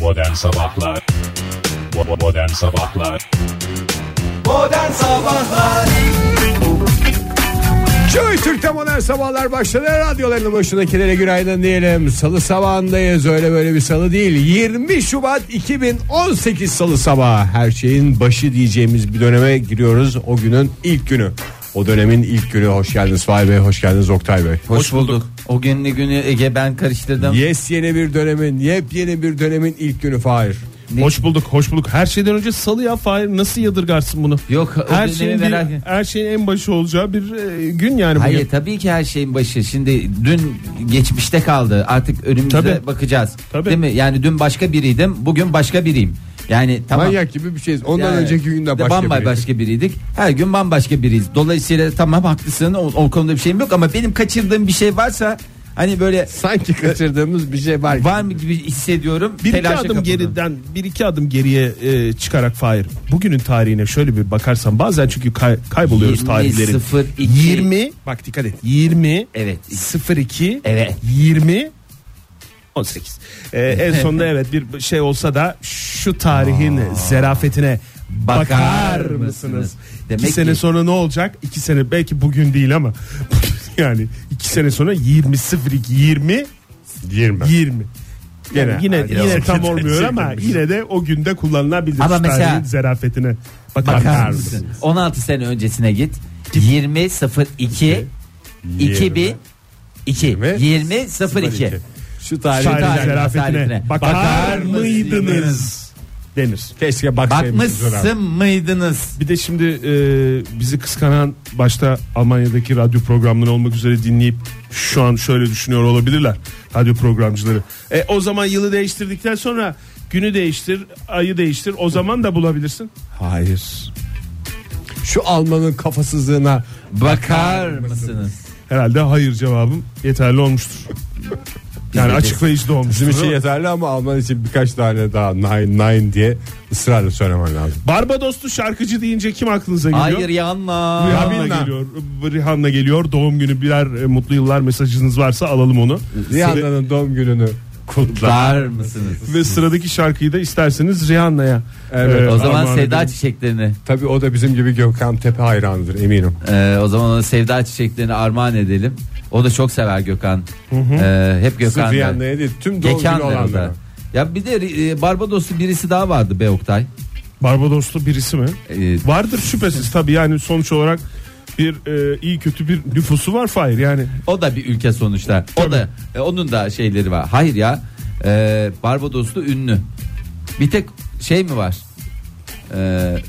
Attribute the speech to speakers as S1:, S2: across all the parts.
S1: Modern Sabahlar Bo- Modern Sabahlar
S2: Modern Sabahlar
S3: Joy Türk'te modern sabahlar başladı. Radyolarının başındakilere günaydın diyelim. Salı sabahındayız. Öyle böyle bir salı değil. 20 Şubat 2018 salı sabahı. Her şeyin başı diyeceğimiz bir döneme giriyoruz. O günün ilk günü. O dönemin ilk günü. Hoş geldiniz Fahir Bey. Hoş geldiniz Oktay Bey.
S4: Hoş bulduk. O günlü günü Ege ben karıştırdım.
S3: Yes yeni bir dönemin, yepyeni bir dönemin ilk günü Fahir.
S5: Hoş bulduk, hoş bulduk. Her şeyden önce salı ya Fahir nasıl yadırgarsın bunu?
S4: Yok, o
S5: her
S4: günleri
S5: şeyin, bir-
S4: merak et-
S5: her şeyin en başı olacağı bir e, gün yani bugün.
S4: Hayır tabii ki her şeyin başı. Şimdi dün geçmişte kaldı. Artık önümüze
S5: Tabii.
S4: bakacağız.
S5: Tabii.
S4: Değil mi? Yani dün başka biriydim. Bugün başka biriyim. Yani tamam.
S3: Manyak gibi bir şeyiz. Ondan
S4: Yani,
S3: önceki günde başka
S4: bambaşka
S3: biriydik.
S4: biriydik. Her gün bambaşka biriyiz. Dolayısıyla tamam haklısın. O, o konuda bir şeyim yok ama benim kaçırdığım bir şey varsa hani böyle
S3: Sanki kaçırdığımız bir şey var.
S4: var mı gibi hissediyorum.
S5: Bir iki
S4: Telaşa
S5: adım
S4: kapıldım.
S5: geriden, bir iki adım geriye e, çıkarak Fahir. Bugünün tarihine şöyle bir bakarsan bazen çünkü kay- kayboluyoruz
S4: 20,
S5: tarihleri.
S4: 02.
S5: 20 bak dikkat et. 20
S4: Evet.
S5: 02
S4: Evet.
S5: 20 18. E, en sonunda evet bir şey olsa da şu tarihin zerafetine
S4: Bakar
S5: bakar,
S4: mısınız?
S5: mısınız?
S4: Demek
S5: iki sene
S4: ki-
S5: sonra ne olacak? İki sene belki bugün değil ama yani iki sene sonra 20 02 20
S3: 20.
S5: 20. Yine yine,
S3: Hadi
S5: yine tam
S3: bakalım.
S5: olmuyor ama yine de o günde kullanılabilir.
S4: Ama
S5: Şu
S4: mesela-
S5: tarihin zerafetine bakar,
S4: Bakar
S5: mısın?
S4: mısın? 16 sene öncesine git. 20.02 2002
S3: Yirmi-
S4: 20.02
S3: Şu tarih.
S5: Tarihin
S4: Tarihin zerafetine
S5: zerafetine bakar,
S4: bakar mıydınız?
S5: mıydınız? Denir.
S3: Keşke baksaymışız ona.
S4: Bakmışsın mıydınız?
S5: Bir de şimdi e, bizi kıskanan başta Almanya'daki radyo programları olmak üzere dinleyip şu an şöyle düşünüyor olabilirler radyo programcıları. E, o zaman yılı değiştirdikten sonra günü değiştir, ayı değiştir. O zaman da bulabilirsin.
S3: Hayır. Şu Alman'ın kafasızlığına
S4: Bakar mısınız?
S5: Herhalde hayır cevabım yeterli olmuştur. Yani açıklayıcı da olmuştur.
S3: bizim için yeterli ama Alman için birkaç tane daha nine nine diye ısrarla söylemen lazım.
S5: Barbadoslu şarkıcı deyince kim aklınıza geliyor?
S4: Hayır yanma.
S5: Rihanna geliyor. Rihanna geliyor. Doğum günü birer e, mutlu yıllar mesajınız varsa alalım onu. Ve,
S3: Rihanna'nın doğum gününü kutla.
S4: Bakar mısınız?
S5: ve sıradaki şarkıyı da isterseniz Rihanna'ya. e,
S3: Evet,
S4: O zaman
S5: armağan
S4: sevda
S5: edelim.
S4: çiçeklerini
S3: Tabii o da bizim gibi Gökhan Tepe hayranıdır eminim.
S4: e, o zaman ona sevda çiçeklerini armağan edelim. O da çok sever Gökhan. E, hep
S3: Sırf
S4: Gökhan'da.
S3: Rihanna'ya değil tüm doğum günü
S4: Gökhan'da o da.
S3: olanlara.
S4: Ya bir de e, Barbadoslu birisi daha vardı be Oktay.
S5: Barbadoslu birisi mi?
S4: E,
S5: Vardır şüphesiz tabii yani sonuç olarak bir e, iyi kötü bir nüfusu var Fahir yani.
S4: O da bir ülke sonuçta. O da e, onun da şeyleri var. Hayır ya. E, Barbadoslu ünlü. Bir tek şey mi var? E,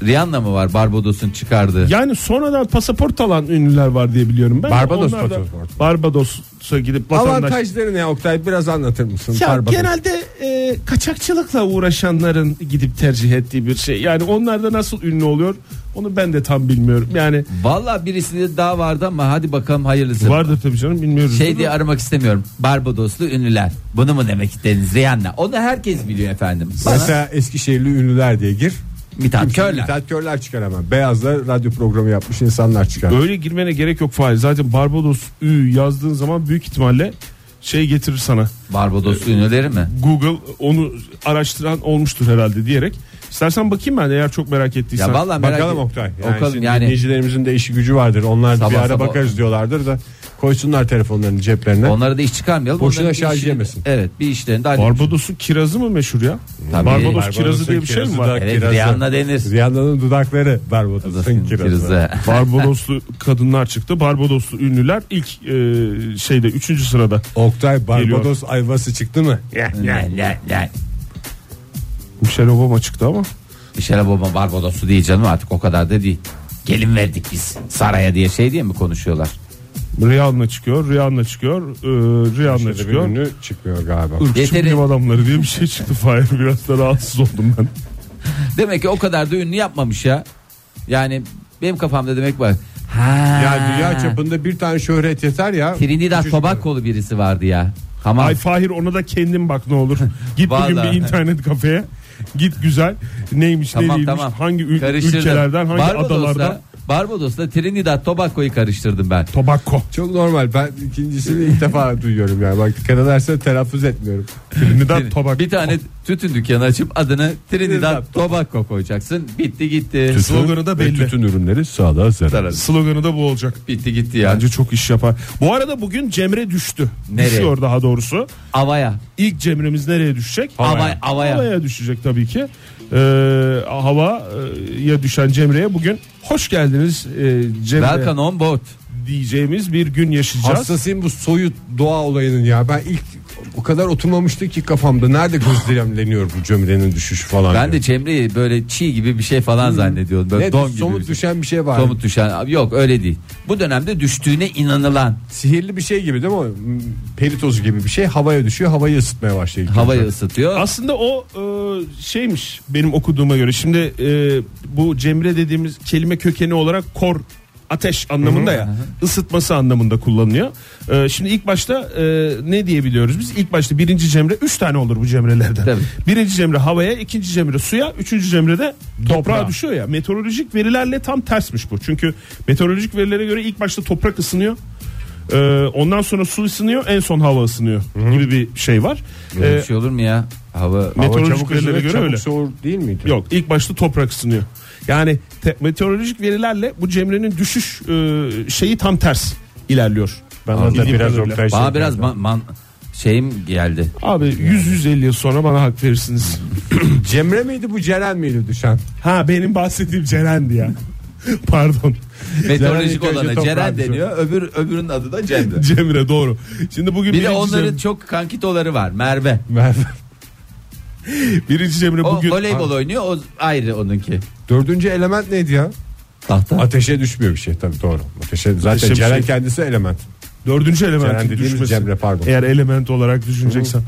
S4: Rihanna mı var Barbados'un çıkardığı?
S5: Yani sonradan pasaport alan ünlüler var diye biliyorum ben.
S3: Barbados
S5: Onlar da-
S3: pasaportu.
S5: Barbados'a gidip vatandaş
S3: Avantajları ne Oktay biraz anlatır mısın?
S5: Ya
S3: Barbados.
S5: genelde e, kaçakçılıkla uğraşanların gidip tercih ettiği bir şey. Yani onlar da nasıl ünlü oluyor onu ben de tam bilmiyorum. Yani
S4: Valla birisi de daha vardı ama hadi bakalım hayırlısı.
S5: vardır tabii canım bilmiyoruz.
S4: Şey diye aramak istemiyorum. Barbadoslu ünlüler. Bunu mu demek istediniz Rihanna? Onu herkes biliyor efendim. Bana
S3: Mesela Eskişehirli ünlüler diye gir.
S4: Mithat Körler.
S3: Mithat Körler çıkar hemen. Beyazlar radyo programı yapmış insanlar çıkar.
S5: Öyle girmene gerek yok Fahir. Zaten Barbados Ü yazdığın zaman büyük ihtimalle şey getirir sana.
S4: Barbadoslu ünlüleri mi?
S5: Google onu araştıran olmuştur herhalde diyerek. İstersen bakayım ben eğer çok merak ettiysen.
S4: Ya vallahi merak
S3: Bakalım
S4: et-
S3: Oktay.
S4: Bakalım
S3: şimdi
S4: yani.
S3: Dinleyicilerimizin de işi gücü vardır. Onlar da bir
S4: Sabah
S3: ara
S4: sabah.
S3: bakarız diyorlardır da koysunlar telefonlarını ceplerine.
S4: Onlara da iş çıkarmayalım.
S3: Boşuna
S4: Onların bir
S3: şarj
S4: işini-
S3: yemesin.
S4: Evet bir işlerini daha
S5: Barbados'un kirazı mı meşhur ya?
S4: Tabii.
S5: Barbados
S4: Barbados'un
S5: kirazı diye bir şey mi var?
S3: kirazı da-
S4: Evet,
S3: kirazı.
S4: Rihanna denir.
S3: Rihanna'nın dudakları Barbados'un kirazı.
S4: kirazı.
S5: Barbadoslu kadınlar çıktı. Barbadoslu ünlüler ilk e, şeyde 3. sırada.
S3: Oktay Barbados
S5: Geliyor.
S3: ayvası çıktı mı?
S4: La, la, la.
S5: Michelle Obama çıktı ama.
S4: Michelle Obama Barbadoslu değil canım artık o kadar da değil. Gelin verdik biz saraya diye şey diye mi konuşuyorlar?
S5: Rihanna çıkıyor, Rihanna çıkıyor, e, Rihanna
S3: Şöyle bir
S5: çıkıyor.
S3: ünlü çıkmıyor galiba.
S5: Irkçı
S4: Yeteri-
S5: bilim adamları diye bir şey çıktı Fahir. Biraz da rahatsız oldum ben.
S4: Demek ki o kadar da ünlü yapmamış ya. Yani benim kafamda demek var. Ha.
S3: Ya dünya çapında bir tane şöhret yeter ya.
S4: Trinidad Tobago'lu birisi vardı ya. Tamam.
S5: Ay Fahir ona da kendin bak ne olur. Git bugün
S4: Vallahi.
S5: bir internet kafeye. Git güzel. Neymiş ne
S4: Tamam
S5: değilmiş.
S4: tamam.
S5: Hangi ül-
S4: Karıştırdım.
S5: ülkelerden hangi
S4: Barbados'ta
S5: adalardan.
S4: Barbados'la Trinidad Tobago'yu karıştırdım ben.
S5: Tobacco.
S3: Çok normal. Ben ikincisini ilk defa duyuyorum yani. Bak dikkat edersen telaffuz etmiyorum.
S5: Trinidad Tobacco.
S4: Bir tane tütün dükkanı açıp adını Trinidad
S3: Trinidad
S4: Tobago koyacaksın. Bitti gitti.
S5: Sloganı da belli.
S1: Tütün ürünleri sağlığa zarar.
S5: Sloganı da bu olacak.
S4: Bitti gitti ya.
S5: Bence çok iş yapar. Bu arada bugün Cemre düştü.
S4: Nereye?
S5: Düşüyor daha doğrusu.
S4: Avaya.
S5: İlk Cemre'miz nereye düşecek?
S4: Havaya. Havaya.
S5: düşecek tabii ki. Ee, havaya düşen Cemre'ye bugün hoş geldiniz e, Cemre
S4: Welcome on board.
S5: diyeceğimiz bir gün yaşayacağız.
S3: Hastasıyım bu soyut doğa olayının ya. Ben ilk o kadar oturmamıştı ki kafamda. Nerede gözlemleniyor bu cömrenin düşüşü falan.
S4: Ben de
S3: diyor.
S4: Cemre'yi böyle çiğ gibi bir şey falan zannediyordum. Böyle
S3: Hmm. Ne,
S4: don gibi.
S3: somut
S4: bir şey.
S3: düşen bir şey var.
S4: Somut düşen. Yok öyle değil. Bu dönemde düştüğüne inanılan
S3: Sihirli bir şey gibi değil mi? o? M- Peri tozu gibi bir şey havaya düşüyor. Havayı ısıtmaya başlıyor. ilk
S4: havayı
S3: önce.
S4: ısıtıyor.
S5: Ee, Aslında o e, şeymiş benim okuduğuma göre. Şimdi e, bu Cemre dediğimiz kelime kökeni olarak kor ateş anlamında ya ısıtması anlamında kullanılıyor. E, şimdi ilk başta e, ne diyebiliyoruz biz? İlk başta birinci Cemre 3 tane olur bu Cemrelerden.
S4: Tabii.
S5: Birinci Cemre havaya, ikinci Cemre suya, üçüncü Cemre de toprağa, düşüyor ya. Meteorolojik verilerle tam tersmiş bu. Çünkü meteorolojik verilere göre ilk başta toprak ısınıyor. E, ondan sonra su ısınıyor, en son hava ısınıyor gibi bir şey var.
S4: Böyle
S5: E,
S4: bir şey olur mu ya? Hava
S5: Met-
S3: Hava
S5: meteorolojik
S3: çabuk
S5: verilere
S3: ısınıyor,
S5: göre
S3: çabuk
S5: öyle.
S3: soğur değil miydi?
S5: Yok ilk başta toprak ısınıyor. Yani te- meteorolojik verilerle bu Cemre'nin düşüş e, şeyi tam ters ilerliyor.
S1: Ben orada
S5: Bildiğim
S1: biraz
S5: kadarıyla.
S1: operasyon
S4: bana biraz man, man- şeyim geldi.
S5: Abi 100-150 yıl sonra bana hak verirsiniz.
S3: Cemre miydi bu Ceren miydi düşen?
S5: ha benim bahsettiğim Ceren'di ya. Pardon.
S4: Meteorolojik
S3: ilk önce
S4: olana
S3: toprağa
S4: Ceren
S3: düşüyor.
S4: deniyor. Öbür öbürünün adı da Cemre.
S5: Cemre doğru. Şimdi bugün
S4: Bir de
S5: birinci,
S4: onların
S5: Cemre,
S4: çok kankitoları var. Merve.
S3: Merve.
S5: birinci Cemre
S4: O
S5: bugün
S4: voleybol oynuyor. O ayrı onunki.
S3: Dördüncü element neydi ya?
S4: Tahta.
S3: Ateşe düşmüyor bir şey tabii doğru. Ateşe, zaten
S5: Ateşe bir
S3: Ceren
S5: şey-
S3: kendisi element.
S5: Dördüncü
S3: Ceren
S5: elementin
S3: dediğimiz
S5: düşmesi.
S3: Cemre, pardon.
S5: Eğer element olarak düşüneceksen.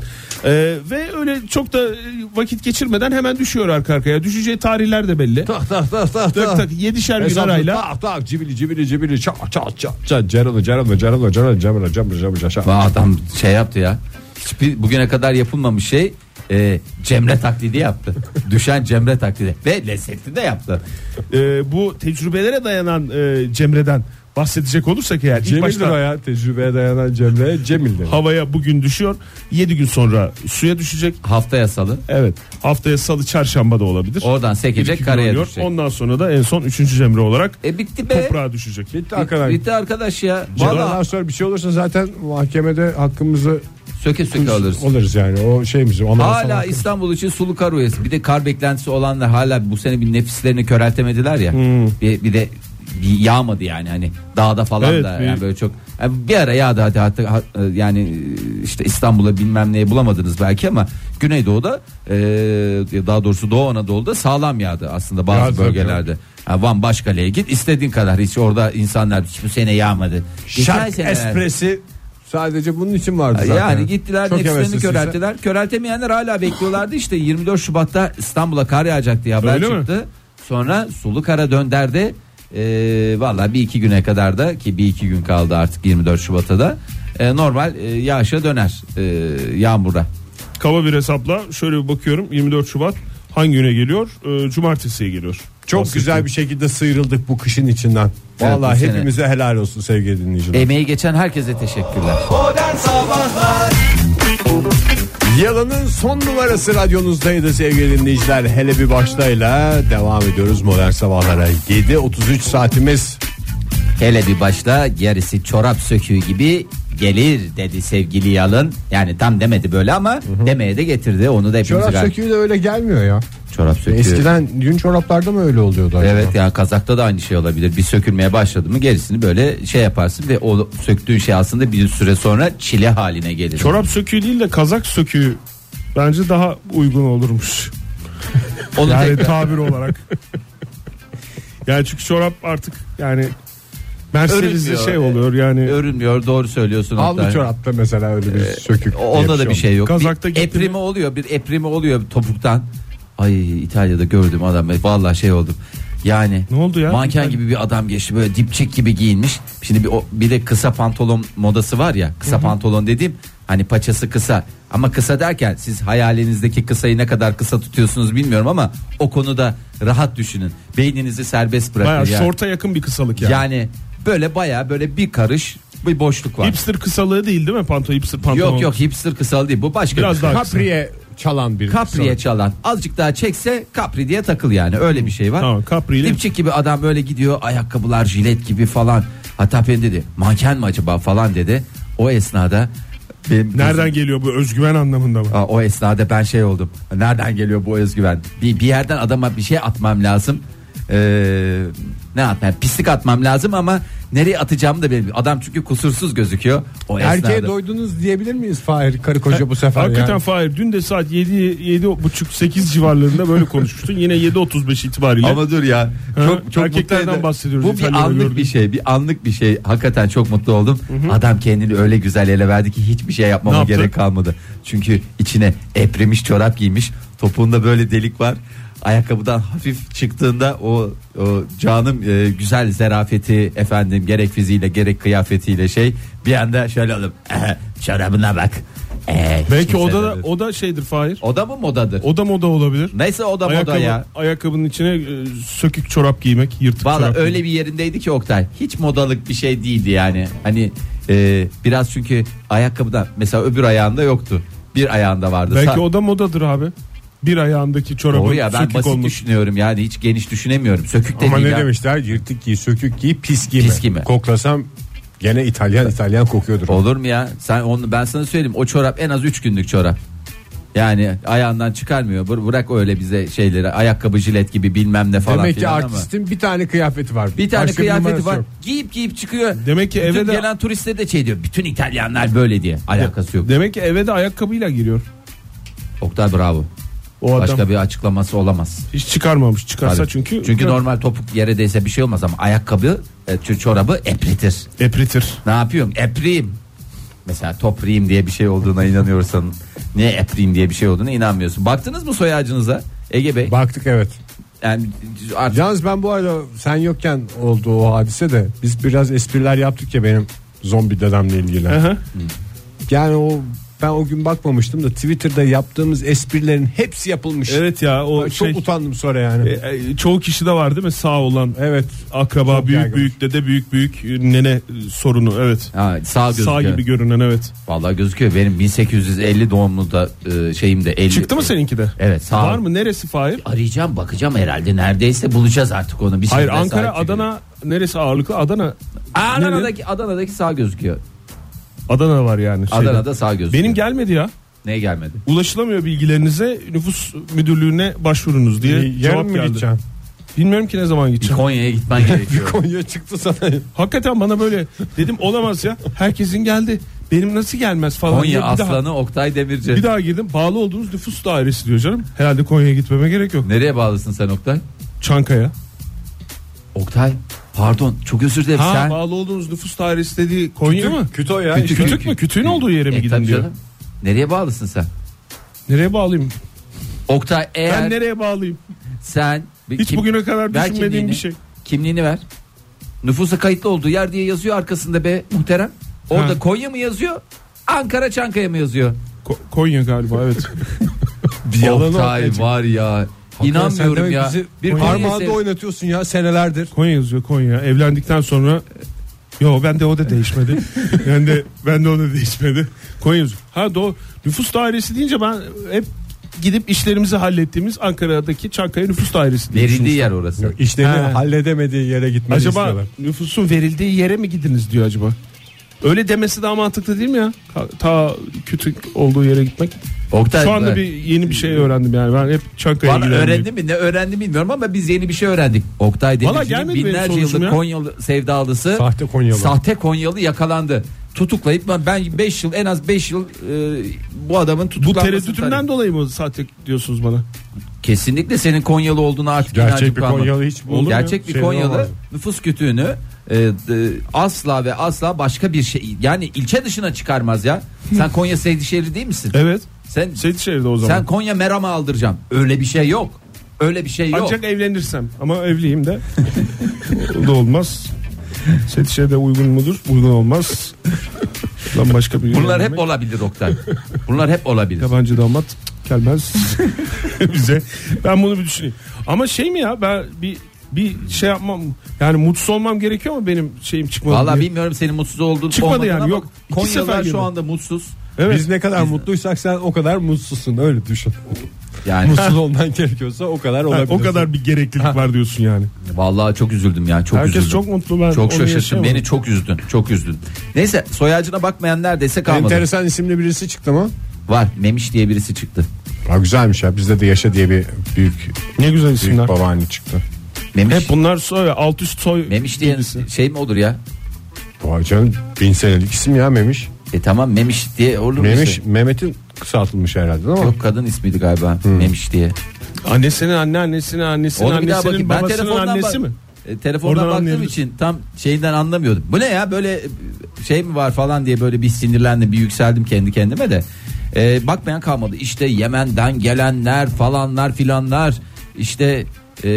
S5: Ee, ve öyle çok da e, vakit geçirmeden hemen düşüyor arka arkaya. Düşeceği tarihler de belli.
S3: Tak tak tak tak
S5: Tak tak 7'şer gün
S3: Hesaplı
S5: arayla.
S3: Tak tak cibili cibili cibili çat çat çat çat Ceren Ceren Ceren Ceren Ceren Ceren Ceren Ceren
S4: Vay, Adam şey yaptı ya. Hiçbir bugüne kadar yapılmamış şey e, Cemre taklidi yaptı. Düşen Cemre taklidi. Ve lezzetli de yaptı.
S5: Ee, bu tecrübelere dayanan e, Cemre'den bahsedecek olursak eğer ilk
S3: Cemil'dir
S5: başta
S3: o ya tecrübeye dayanan Cemre Cemil'dir.
S5: havaya bugün düşüyor 7 gün sonra suya düşecek
S4: Haftaya salı.
S5: evet haftaya salı çarşamba da olabilir
S4: Oradan sekecek
S5: İki gün
S4: karaya
S5: oynuyor.
S4: düşecek.
S5: ondan sonra da en son 3. Cemre olarak
S4: E bitti be.
S5: toprağa düşecek
S3: Bitti
S4: Bitti,
S3: hakikaten.
S4: bitti arkadaş ya.
S3: Ondan
S4: Valla
S3: sonra bir şey olursa zaten mahkemede hakkımızı
S4: söke söke alırız.
S3: alırız yani o şeyimizi. anayasal
S4: Hala
S3: hakkı.
S4: İstanbul için sulu kar uyarısı. Bir de kar beklentisi olanlar hala bu sene bir nefislerini köreltemediler ya. Bir, bir de bir yağmadı yani hani dağda falan
S5: Evet,
S4: da
S5: bir-
S4: yani böyle çok yani bir ara yağdı hadi hatta ha- e, yani işte İstanbul'a bilmem neye bulamadınız belki ama Güneydoğu'da e, daha doğrusu Doğu Anadolu'da sağlam yağdı aslında bazı
S3: Yağdı,
S4: bölgelerde. Yani Van Başkale'ye git istediğin kadar hiç orada insanlar hiç bu sene yağmadı. Geçen
S3: Şark
S4: sene-
S3: espresi sadece bunun için vardı zaten.
S4: yani gittiler
S3: Çok
S4: nefislerini
S3: hevesliyse.
S4: körelttiler. Köreltemeyenler hala bekliyorlardı işte 24 Şubat'ta İstanbul'a kar yağacak diye haber
S5: Öyle mi?
S4: çıktı. Sonra sulu kara dönderdi. Ee, Valla bir iki güne kadar da ki bir iki gün kaldı artık 24 Şubat'a da e, normal e, yağışa döner e, yağmura.
S5: kaba bir hesapla şöyle bir bakıyorum 24 Şubat hangi güne geliyor Ee, cumartesiye geliyor
S3: Çok
S5: Bahsettiğim.
S3: güzel bir şekilde sıyrıldık bu kışın içinden. Vallahi
S4: bu sene.
S3: hepimize helal olsun sevgili dinleyiciler.
S4: Emeği geçen herkese teşekkürler.
S2: Modern Sabahlar
S3: Yalanın son numarası radyonuzdaydı sevgili dinleyiciler. Hele bir başlayla devam ediyoruz modern sabahlara. 7.33 saatimiz.
S4: Hele bir başla gerisi çorap söküğü gibi gelir dedi sevgili Yalın. Yani tam demedi böyle ama demeye de getirdi onu da hepimiz
S3: Çorap
S4: gar-
S3: söküğü de öyle gelmiyor ya.
S4: çorap söküğü.
S3: Eskiden yün çoraplarda mı öyle oluyordu acaba?
S4: Evet ya kazakta da aynı şey olabilir. Bir sökülmeye başladı mı gerisini böyle şey yaparsın ve o söktüğün şey aslında bir süre sonra çile haline gelir.
S5: çorap söküğü değil de kazak söküğü bence daha uygun olurmuş
S4: Onu
S5: Yani
S4: tekrar-
S5: tabir olarak. Yani çünkü çorap artık yani Mercedes'de
S4: Örülmüyor.
S5: şey oluyor yani.
S4: Örülmüyor doğru söylüyorsun.
S3: Havlu
S4: Oktay.
S3: çorapta mesela öyle bir sökük.
S4: Ee, O- Onda da bir şey yok.
S5: Kazakta
S4: bir
S5: gitti
S4: eprimi
S5: mi?
S4: oluyor bir eprimi oluyor topuktan. Ay İtalya'da gördüm adam E, vallahi şey oldum. Yani
S5: Ne oldu ya?
S4: manken
S5: Bir-
S4: gibi bir adam geçti böyle dipçik gibi giyinmiş. Şimdi bir, o, bir de kısa pantolon modası var ya. Kısa pantolon dediğim hani paçası kısa. Ama kısa derken siz hayalinizdeki kısayı ne kadar kısa tutuyorsunuz bilmiyorum ama o konuda rahat düşünün. Beyninizi serbest bırakın.
S5: Baya
S4: yani.
S5: şorta yakın bir kısalık yani.
S4: Yani böyle baya böyle bir karış bir boşluk var.
S5: Hipster kısalığı değil değil mi? Panto hipster pantolon.
S4: Yok yok hipster kısalı değil bu başka
S5: Biraz
S4: bir- şey.
S5: daha kısa.
S3: Kapri'ye çalan bir
S4: Kapri'ye çalan. Azıcık daha çekse Capri diye takıl yani. Öyle bir şey var.
S5: Tamam, Capri ile-
S4: Dipçik gibi adam böyle gidiyor. Ayakkabılar jilet gibi falan. Hatta ben dedi manken mi acaba falan dedi. O esnada benim
S5: Nereden geliyor bu özgüven anlamında mı?
S4: Aa, o esnada ben şey oldum. Nereden geliyor bu özgüven? Bir, bir yerden adama bir şey atmam lazım. Ee, ne atmam? Pislik atmam lazım ama nereye atacağımı da benim. Adam çünkü kusursuz gözüküyor. O
S3: Erkeğe
S4: esnada.
S3: doydunuz diyebilir miyiz Fahir karı koca bu sefer?
S5: Hakikaten
S3: yani?
S5: Fahir dün de saat 7 7.30 8 civarlarında böyle konuşmuştun. Yine 7.35 itibariyle.
S4: Ama dur ya.
S5: Ha,
S4: Çok çok
S5: erkeklerden
S4: mutlu eder-
S5: bahsediyoruz,
S4: Bu bir
S5: İtalya'da
S4: anlık
S5: gördüm.
S4: bir şey, bir anlık bir şey. Hakikaten çok mutlu oldum. Adam kendini öyle güzel ele verdi ki hiçbir şey
S5: Ne
S4: yapmama
S5: yaptı?
S4: gerek kalmadı. Çünkü içine epremiş çorap giymiş. Topuğunda böyle delik var. Ayakkabıdan hafif çıktığında o, o canım e, güzel zerafeti efendim gerek fiziğiyle gerek kıyafetiyle şey bir anda şöyle alıp çorabına bak. Eh, hiç
S5: Belki
S4: kimse
S5: o da
S4: de-
S5: o da şeydir Fahir.
S4: oda mı modadır?
S5: O da moda olabilir.
S4: Neyse o da
S5: Ayakkabı,
S4: moda ya.
S5: Ayakkabının içine e, sökük çorap giymek, yırtık
S4: Valla
S5: çorap.
S4: öyle bir yerindeydi ki Oktay. Hiç modalık bir şey değildi yani. Hani e, biraz çünkü ayakkabıda mesela öbür ayağında yoktu. Bir ayağında vardı.
S5: giymek. Belki
S4: Sa-
S5: o da modadır abi. Bir ayağındaki çorabın
S4: Doğru ya ben
S5: sökük
S4: basit
S5: olması.
S4: düşünüyorum yani hiç geniş düşünemiyorum. Sökük
S3: Ama
S4: dediğim
S3: ne
S4: ya.
S3: demişler yırtık giy sökük giy pis giyme.
S4: Pis giyme.
S3: Koklasam gene İtalyan İtalyan kokuyordur.
S4: Olur mu ya? Sen onu ben sana söyleyeyim. O çorap en az 3 günlük çorap. Yani ayağından çıkarmıyor. Bır- Bırak öyle bize şeyleri. Ayakkabı jilet gibi bilmem ne falan
S3: Demek ki
S4: filan ama.
S3: artistin bir tane kıyafeti var.
S4: Bir tane
S3: Başka
S4: kıyafeti
S3: numarası
S4: var.
S3: yok.
S4: Giyip giyip çıkıyor.
S5: Demek ki
S4: Bütün
S5: eve de-
S4: gelen turistler de şey diyor. Bütün İtalyanlar böyle diye. Alakası yok.
S5: Demek ki eve de ayakkabıyla giriyor.
S4: Oktay bravo.
S5: O adam
S4: Başka bir açıklaması olamaz.
S5: hiç çıkarmamış. Çıkarsa
S4: Tabii.
S5: çünkü
S4: çünkü normal topuk yere değse bir şey olmaz ama ayakkabı, e, ç- çorabı epritir.
S5: epritir.
S4: Ne yapıyorum? Epriyim. Mesela topriyim diye bir şey olduğuna inanıyorsan niye epriyim diye bir şey olduğuna inanmıyorsun. Baktınız mı soy ağacınıza Ege Bey?
S3: Baktık evet.
S4: Yani artık
S3: Yalnız ben bu arada sen yokken oldu o hadise de biz biraz espriler yaptık ya benim zombi dedemle ilgili. Hmm.
S5: Aha.
S3: Yani o ben o gün bakmamıştım da Twitter'da yaptığımız esprilerin hepsi yapılmış.
S5: Evet ya o
S3: Ben
S5: şey
S3: Çok utandım sonra yani.
S5: e, e, çoğu kişi de var değil mi sağ olan e,
S3: evet.
S5: akraba
S3: Çok
S5: büyük
S3: yaygın.
S5: büyük dede büyük büyük nene e, sorunu evet.
S4: ha, sağ gözüküyor.
S5: Sağ gibi görünen evet.
S4: Vallahi gözüküyor. Benim 1850 doğumlu da e, şeyim de 50.
S5: Çıktı mı seninki de?
S4: Evet E, sağ.
S5: Var mı neresi Fahir?
S4: Arayacağım bakacağım herhalde neredeyse bulacağız artık onu. Bir şey
S5: Hayır
S4: şekilde
S5: Ankara
S4: sahip çıkıyor.
S5: Adana neresi ağırlıklı Adana
S4: Adana'daki, Adana'daki sağ gözüküyor.
S5: Adana var yani. şeyde.
S4: Adana'da sağ gözüküyor.
S5: Benim gelmedi ya.
S4: Neye gelmedi?
S5: Ulaşılamıyor bilgilerinize nüfus müdürlüğüne başvurunuz diye
S3: E, Yarın
S5: cevap
S3: mı
S5: geldi.
S3: gideceksin?
S5: Bilmiyorum ki ne zaman
S4: Bir
S5: gideceğim.
S4: Konya'ya gitmen gerekiyor.
S3: Konya çıktı sana.
S5: Hakikaten bana böyle dedim olamaz ya. Herkesin geldi. Benim nasıl gelmez falan. diye
S4: Konya
S5: bir daha-
S4: aslanı Oktay Demirci.
S5: Bir daha girdim. Bağlı olduğunuz nüfus dairesi diyor canım. Herhalde Konya'ya gitmeme gerek yok.
S4: Nereye bağlısın sen Oktay?
S5: Çankaya.
S4: Oktay pardon çok özür dilerim
S5: Ha
S4: sen.
S5: bağlı olduğunuz nüfus dairesi dediği Konya mı?
S3: Küto ya.
S5: Kütük, mü? Kütüğün olduğu yere mi
S4: E,
S5: gidin
S4: tabii
S5: diyor.
S4: canım. Nereye bağlısın sen?
S5: Nereye bağlayayım?
S4: Oktay eğer
S5: Ben nereye bağlayayım?
S4: sen bir
S5: Hiç
S4: kim-
S5: bugüne kadar
S4: Ver
S5: düşünmediğim
S4: kimliğini.
S5: bir şey.
S4: kimliğini ver. Nüfusa kayıtlı olduğu yer diye yazıyor arkasında be muhterem. Orada
S5: Ha.
S4: Konya mı yazıyor? Ankara Çankaya mı yazıyor?
S5: Ko- Konya galiba evet.
S4: Oktay var ya.
S3: Sen
S4: İnanmıyorum
S3: demek
S4: ya.
S3: bizi
S4: Bir Konya
S3: parmağında
S4: sev-
S3: oynatıyorsun ya senelerdir.
S5: Konya yazıyor Konya. Evlendikten sonra Yo ben de o da değişmedi. ben de ben de o da değişmedi. Konya yazıyor. Ha doğru. Nüfus dairesi deyince ben hep gidip işlerimizi hallettiğimiz Ankara'daki Çankaya nüfus dairesi diye
S4: Verildiği
S5: düşünmüştüm.
S4: yer orası.
S3: İşlerini
S5: He.
S3: halledemediği yere gitmeni
S5: Acaba
S3: istiyorlar.
S5: nüfusun verildiği yere mi gidiniz diyor acaba. Öyle demesi daha mantıklı değil mi ya? Ka- Ta kütük olduğu yere gitmek.
S4: Oktay
S5: Şu anda
S4: ver.
S5: bir yeni bir şey öğrendim yani. Ben hep Çankaya'ya
S4: Valla
S5: giderim.
S4: öğrendi mi ne öğrendi bilmiyorum ama biz yeni bir şey öğrendik. Oktay
S5: Valla
S4: Demirci'nin
S5: gelmedi benim
S4: binlerce
S5: sonucum
S4: yıllık
S5: ya.
S4: Konyalı sevdalısı
S3: Sahte Konyalı.
S4: sahte Konyalı yakalandı. Tutuklayıp ben- ben 5 yıl en az 5 yıl e, bu adamın
S5: Bu
S4: tutuklanmasını
S5: tereddütümden
S4: talep-
S5: dolayı mı sahte diyorsunuz bana?
S4: Kesinlikle senin Konyalı olduğuna artık
S3: Gerçek
S4: inancım
S3: bir
S4: kalmadı.
S3: Konyalı hiç olur mu?
S4: Gerçek bir
S3: Şeyden
S4: Konyalı
S3: olmaz.
S4: nüfus kütüğünü e, d- asla ve asla başka bir şey yani ilçe dışına çıkarmaz ya. Sen Konya Seydişehir'i değil misin?
S5: Evet.
S4: Sen
S5: Seyitşehir'de o zaman.
S4: sen Konya Meram'a aldıracağım. Öyle bir şey yok. Öyle bir şey yok.
S5: Ancak evlenirsem ama evliyim de o da olmaz. Setişe de uygun mudur? Uygun olmaz. Lan başka bir
S4: Bunlar hep
S5: evlenmek.
S4: olabilir Oktay. Bunlar hep olabilir.
S5: Yabancı damat gelmez bize. Ben bunu bir düşüneyim. Ama şey mi ya ben bir bir şey yapmam yani mutsuz olmam gerekiyor mu benim şeyim çıkmadı.
S4: Valla
S5: diye.
S4: bilmiyorum senin mutsuz olduğun
S5: Çıkmadı
S4: olmadığını
S5: yani,
S4: ama
S5: yok. İki sefer
S4: Konyalılar
S5: girdi.
S4: şu anda mutsuz.
S5: Evet.
S3: Biz ne kadar mutluysak sen o kadar mutsuzsun öyle düşün.
S4: Yani
S3: Mutsuz olman gerekiyorsa o kadar
S5: Ha,
S3: olabilir.
S5: o kadar bir gereklilik var diyorsun yani.
S4: vallahi çok üzüldüm ya çok
S5: Herkes
S4: üzüldüm.
S5: çok mutlu ben.
S4: Çok
S5: onu
S4: şaşırttın
S5: yaşayamadım.
S4: beni çok üzdün çok üzdün. Neyse soy ağacına bakmayan neredeyse kalmadı.
S3: Enteresan isimli birisi çıktı mı?
S4: Var Memiş diye birisi çıktı.
S3: Ha, güzelmiş ya bizde de yaşa diye bir büyük
S5: Ne güzel
S3: büyük
S5: isimler.
S3: babaanne çıktı.
S4: Memiş,
S5: Hep bunlar soy alt üst soy.
S4: Memiş diye
S5: birisi.
S4: şey mi olur ya?
S3: Vay canım bin senelik isim ya Memiş.
S4: E tamam Memiş diye olur mu?
S3: Memiş
S4: işte?
S3: Mehmet'in kısaltılmış herhalde ama.
S4: Yok kadın ismiydi galiba Memiş diye.
S5: Annesinin anneannesinin annesinin
S4: Onu bir daha bakayım.
S5: annesinin
S4: Ben
S5: babasının
S4: telefondan
S5: annesi
S4: bak-
S5: mi?
S4: E, telefondan
S5: Oradan
S4: baktığım
S5: anlayabiliriz.
S4: için tam şeyden anlamıyordum. Bu ne ya böyle e, şey mi var falan diye böyle bir sinirlendim, bir yükseldim kendi kendime de. E, bakmayan kalmadı. İşte Yemen'den gelenler falanlar filanlar işte e,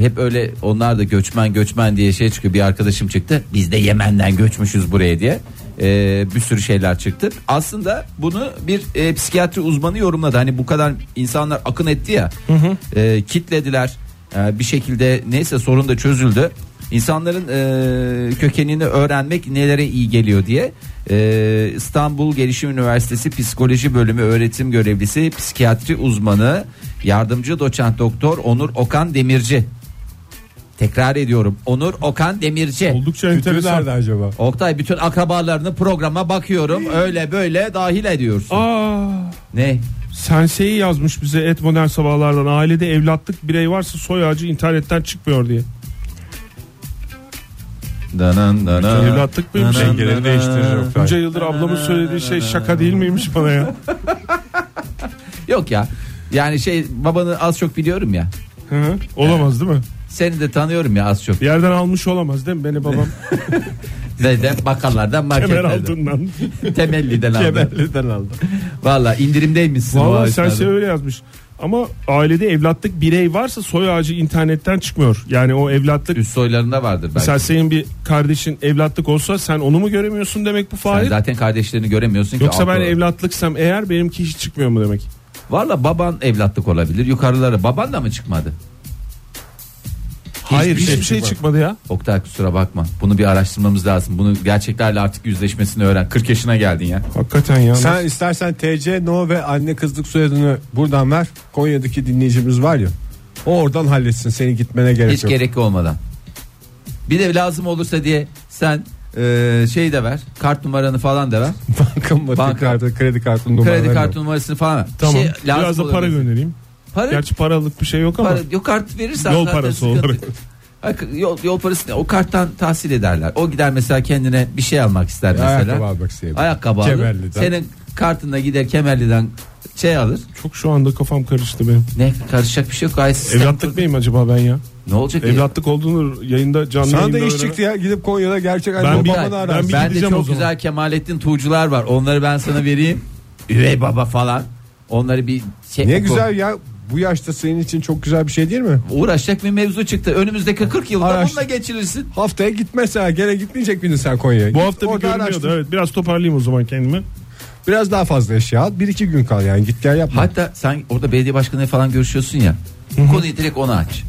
S4: hep öyle onlar da göçmen göçmen diye şey çıkıyor. Bir arkadaşım çıktı. Biz de Yemen'den göçmüşüz buraya diye. E, bir sürü şeyler çıktı. Aslında bunu bir e, psikiyatri uzmanı yorumladı. Hani bu kadar insanlar akın etti ya. E, kitlediler. Ee, bir şekilde neyse sorun da çözüldü. İnsanların e, kökenini öğrenmek nelere iyi geliyor diye e, İstanbul Gelişim Üniversitesi Psikoloji Bölümü öğretim görevlisi psikiyatri uzmanı yardımcı doçent doktor Onur Okan Demirci. Tekrar ediyorum Onur Okan Demirci.
S5: Oldukça
S3: Kötü
S5: enteresan.
S3: nerede acaba?
S4: Oktay bütün akrabalarını programa bakıyorum öyle böyle dahil ediyorsun.
S5: Aa,
S4: Ne?
S5: Sense'yi yazmış bize et modern sabahlardan ailede evlatlık birey varsa soy ağacı internetten çıkmıyor diye.
S4: Danan, danan.
S5: Evlatlık mıymış?
S4: Danan,
S3: Dengeleri
S4: danan.
S3: değiştirir Oktay.
S5: Bunca yıldır ablamın söylediği şey şaka değil miymiş bana ya?
S4: Yok ya. Yani şey babanı az çok biliyorum ya.
S5: Hı hı. olamaz değil mi?
S4: Seni de tanıyorum ya az çok.
S5: Bir yerden almış olamaz değil mi beni babam?
S4: Neden? Bakkallardan
S5: Kemer
S4: marketlerden.
S5: altından.
S4: Temelliden aldım.
S3: Kemerliden aldı.
S4: Valla indirimdeymişsin.
S5: Valla
S4: vay
S5: Sense
S4: üstadım.
S5: öyle yazmış. Ama ailede evlatlık birey varsa soy ağacı internetten çıkmıyor. Yani o evlatlık
S4: Üst soylarında vardır belki.
S5: Mesela senin bir kardeşin evlatlık olsa sen onu mu göremiyorsun demek bu
S4: Sen
S5: Fahir?
S4: zaten kardeşlerini göremiyorsun ki.
S5: Yoksa ben
S4: altı-
S5: evlatlıksam eğer benimki hiç çıkmıyor mu demek?
S4: Valla baban evlatlık olabilir. Yukarılara baban da mı çıkmadı?
S5: Hayır hiçbir, şey,
S4: çıkmadı.
S5: çıkmadı ya.
S4: Oktay kusura bakma. Bunu bir araştırmamız lazım. Bunu gerçeklerle artık yüzleşmesini öğren. 40 yaşına geldin ya.
S5: Hakikaten ya.
S3: Sen istersen TC, No ve anne kızlık soyadını buradan ver. Konya'daki dinleyicimiz var ya. O oradan halletsin. Senin gitmene gerek
S4: Hiç
S3: yok.
S4: gerek olmadan. Bir de lazım olursa diye sen eee, şey de ver. Kart numaranı falan da ver.
S3: Bankamatik
S4: Banka-
S3: kartı, kredi kartı numaraları
S4: Kredi
S3: yok.
S4: kartı numarasını falan ver. Bir
S5: tamam.
S4: şey lazım
S5: Biraz da para
S4: olabilir.
S5: göndereyim.
S4: Para
S5: Gerçi paralık bir şey yok ama.
S4: Para, yok kart verirsen
S5: Yol
S4: zaten
S5: parası
S4: sıkıntı-
S5: olarak.
S4: Hak- Yol, yol parası ne? O karttan tahsil ederler. O gider mesela kendine bir şey almak ister mesela.
S3: Ayakkabı almak isteyebilir.
S4: Ayakkabı alır.
S3: Kemerli'den.
S4: Senin kartında gider kemerliden şey alır.
S5: Çok şu anda kafam karıştı benim.
S4: Ne karışacak bir şey yok. Gayet sistem
S5: Evlatlık
S4: kurdu.
S5: mıyım acaba ben ya?
S4: Ne olacak?
S5: Evlatlık olduğunu yayında canlı
S3: Sana
S5: yayında
S3: da iş
S5: öğren-
S3: çıktı ya. Gidip Konya'da gerçek anne
S5: Ben bir-
S3: babanı
S5: ben
S3: ararsın.
S5: bir
S4: Ben de
S5: gideceğim o
S4: çok
S5: zaman.
S4: güzel Kemalettin Tuğcular var. Onları ben sana vereyim. Üvey baba falan. Onları bir şey
S3: Ne
S4: oku.
S3: güzel ya. Bu yaşta senin için çok güzel bir şey değil mi?
S4: uğraşacak bir mevzu çıktı. Önümüzdeki 40 yılda
S3: Araştır.
S4: bununla geçirirsin.
S3: Haftaya gitmesen gene gitmeyecek miydin sen Konya'ya?
S5: Bu
S3: Git,
S5: hafta bir
S3: orada
S5: görünmüyordu.
S3: araştır.
S5: Evet, biraz toparlayayım o zaman kendimi.
S3: Biraz daha fazla eşya al. Bir iki gün kal yani git gel yapma.
S4: Hatta sen orada belediye başkanı falan görüşüyorsun ya. Konuyu direkt ona aç.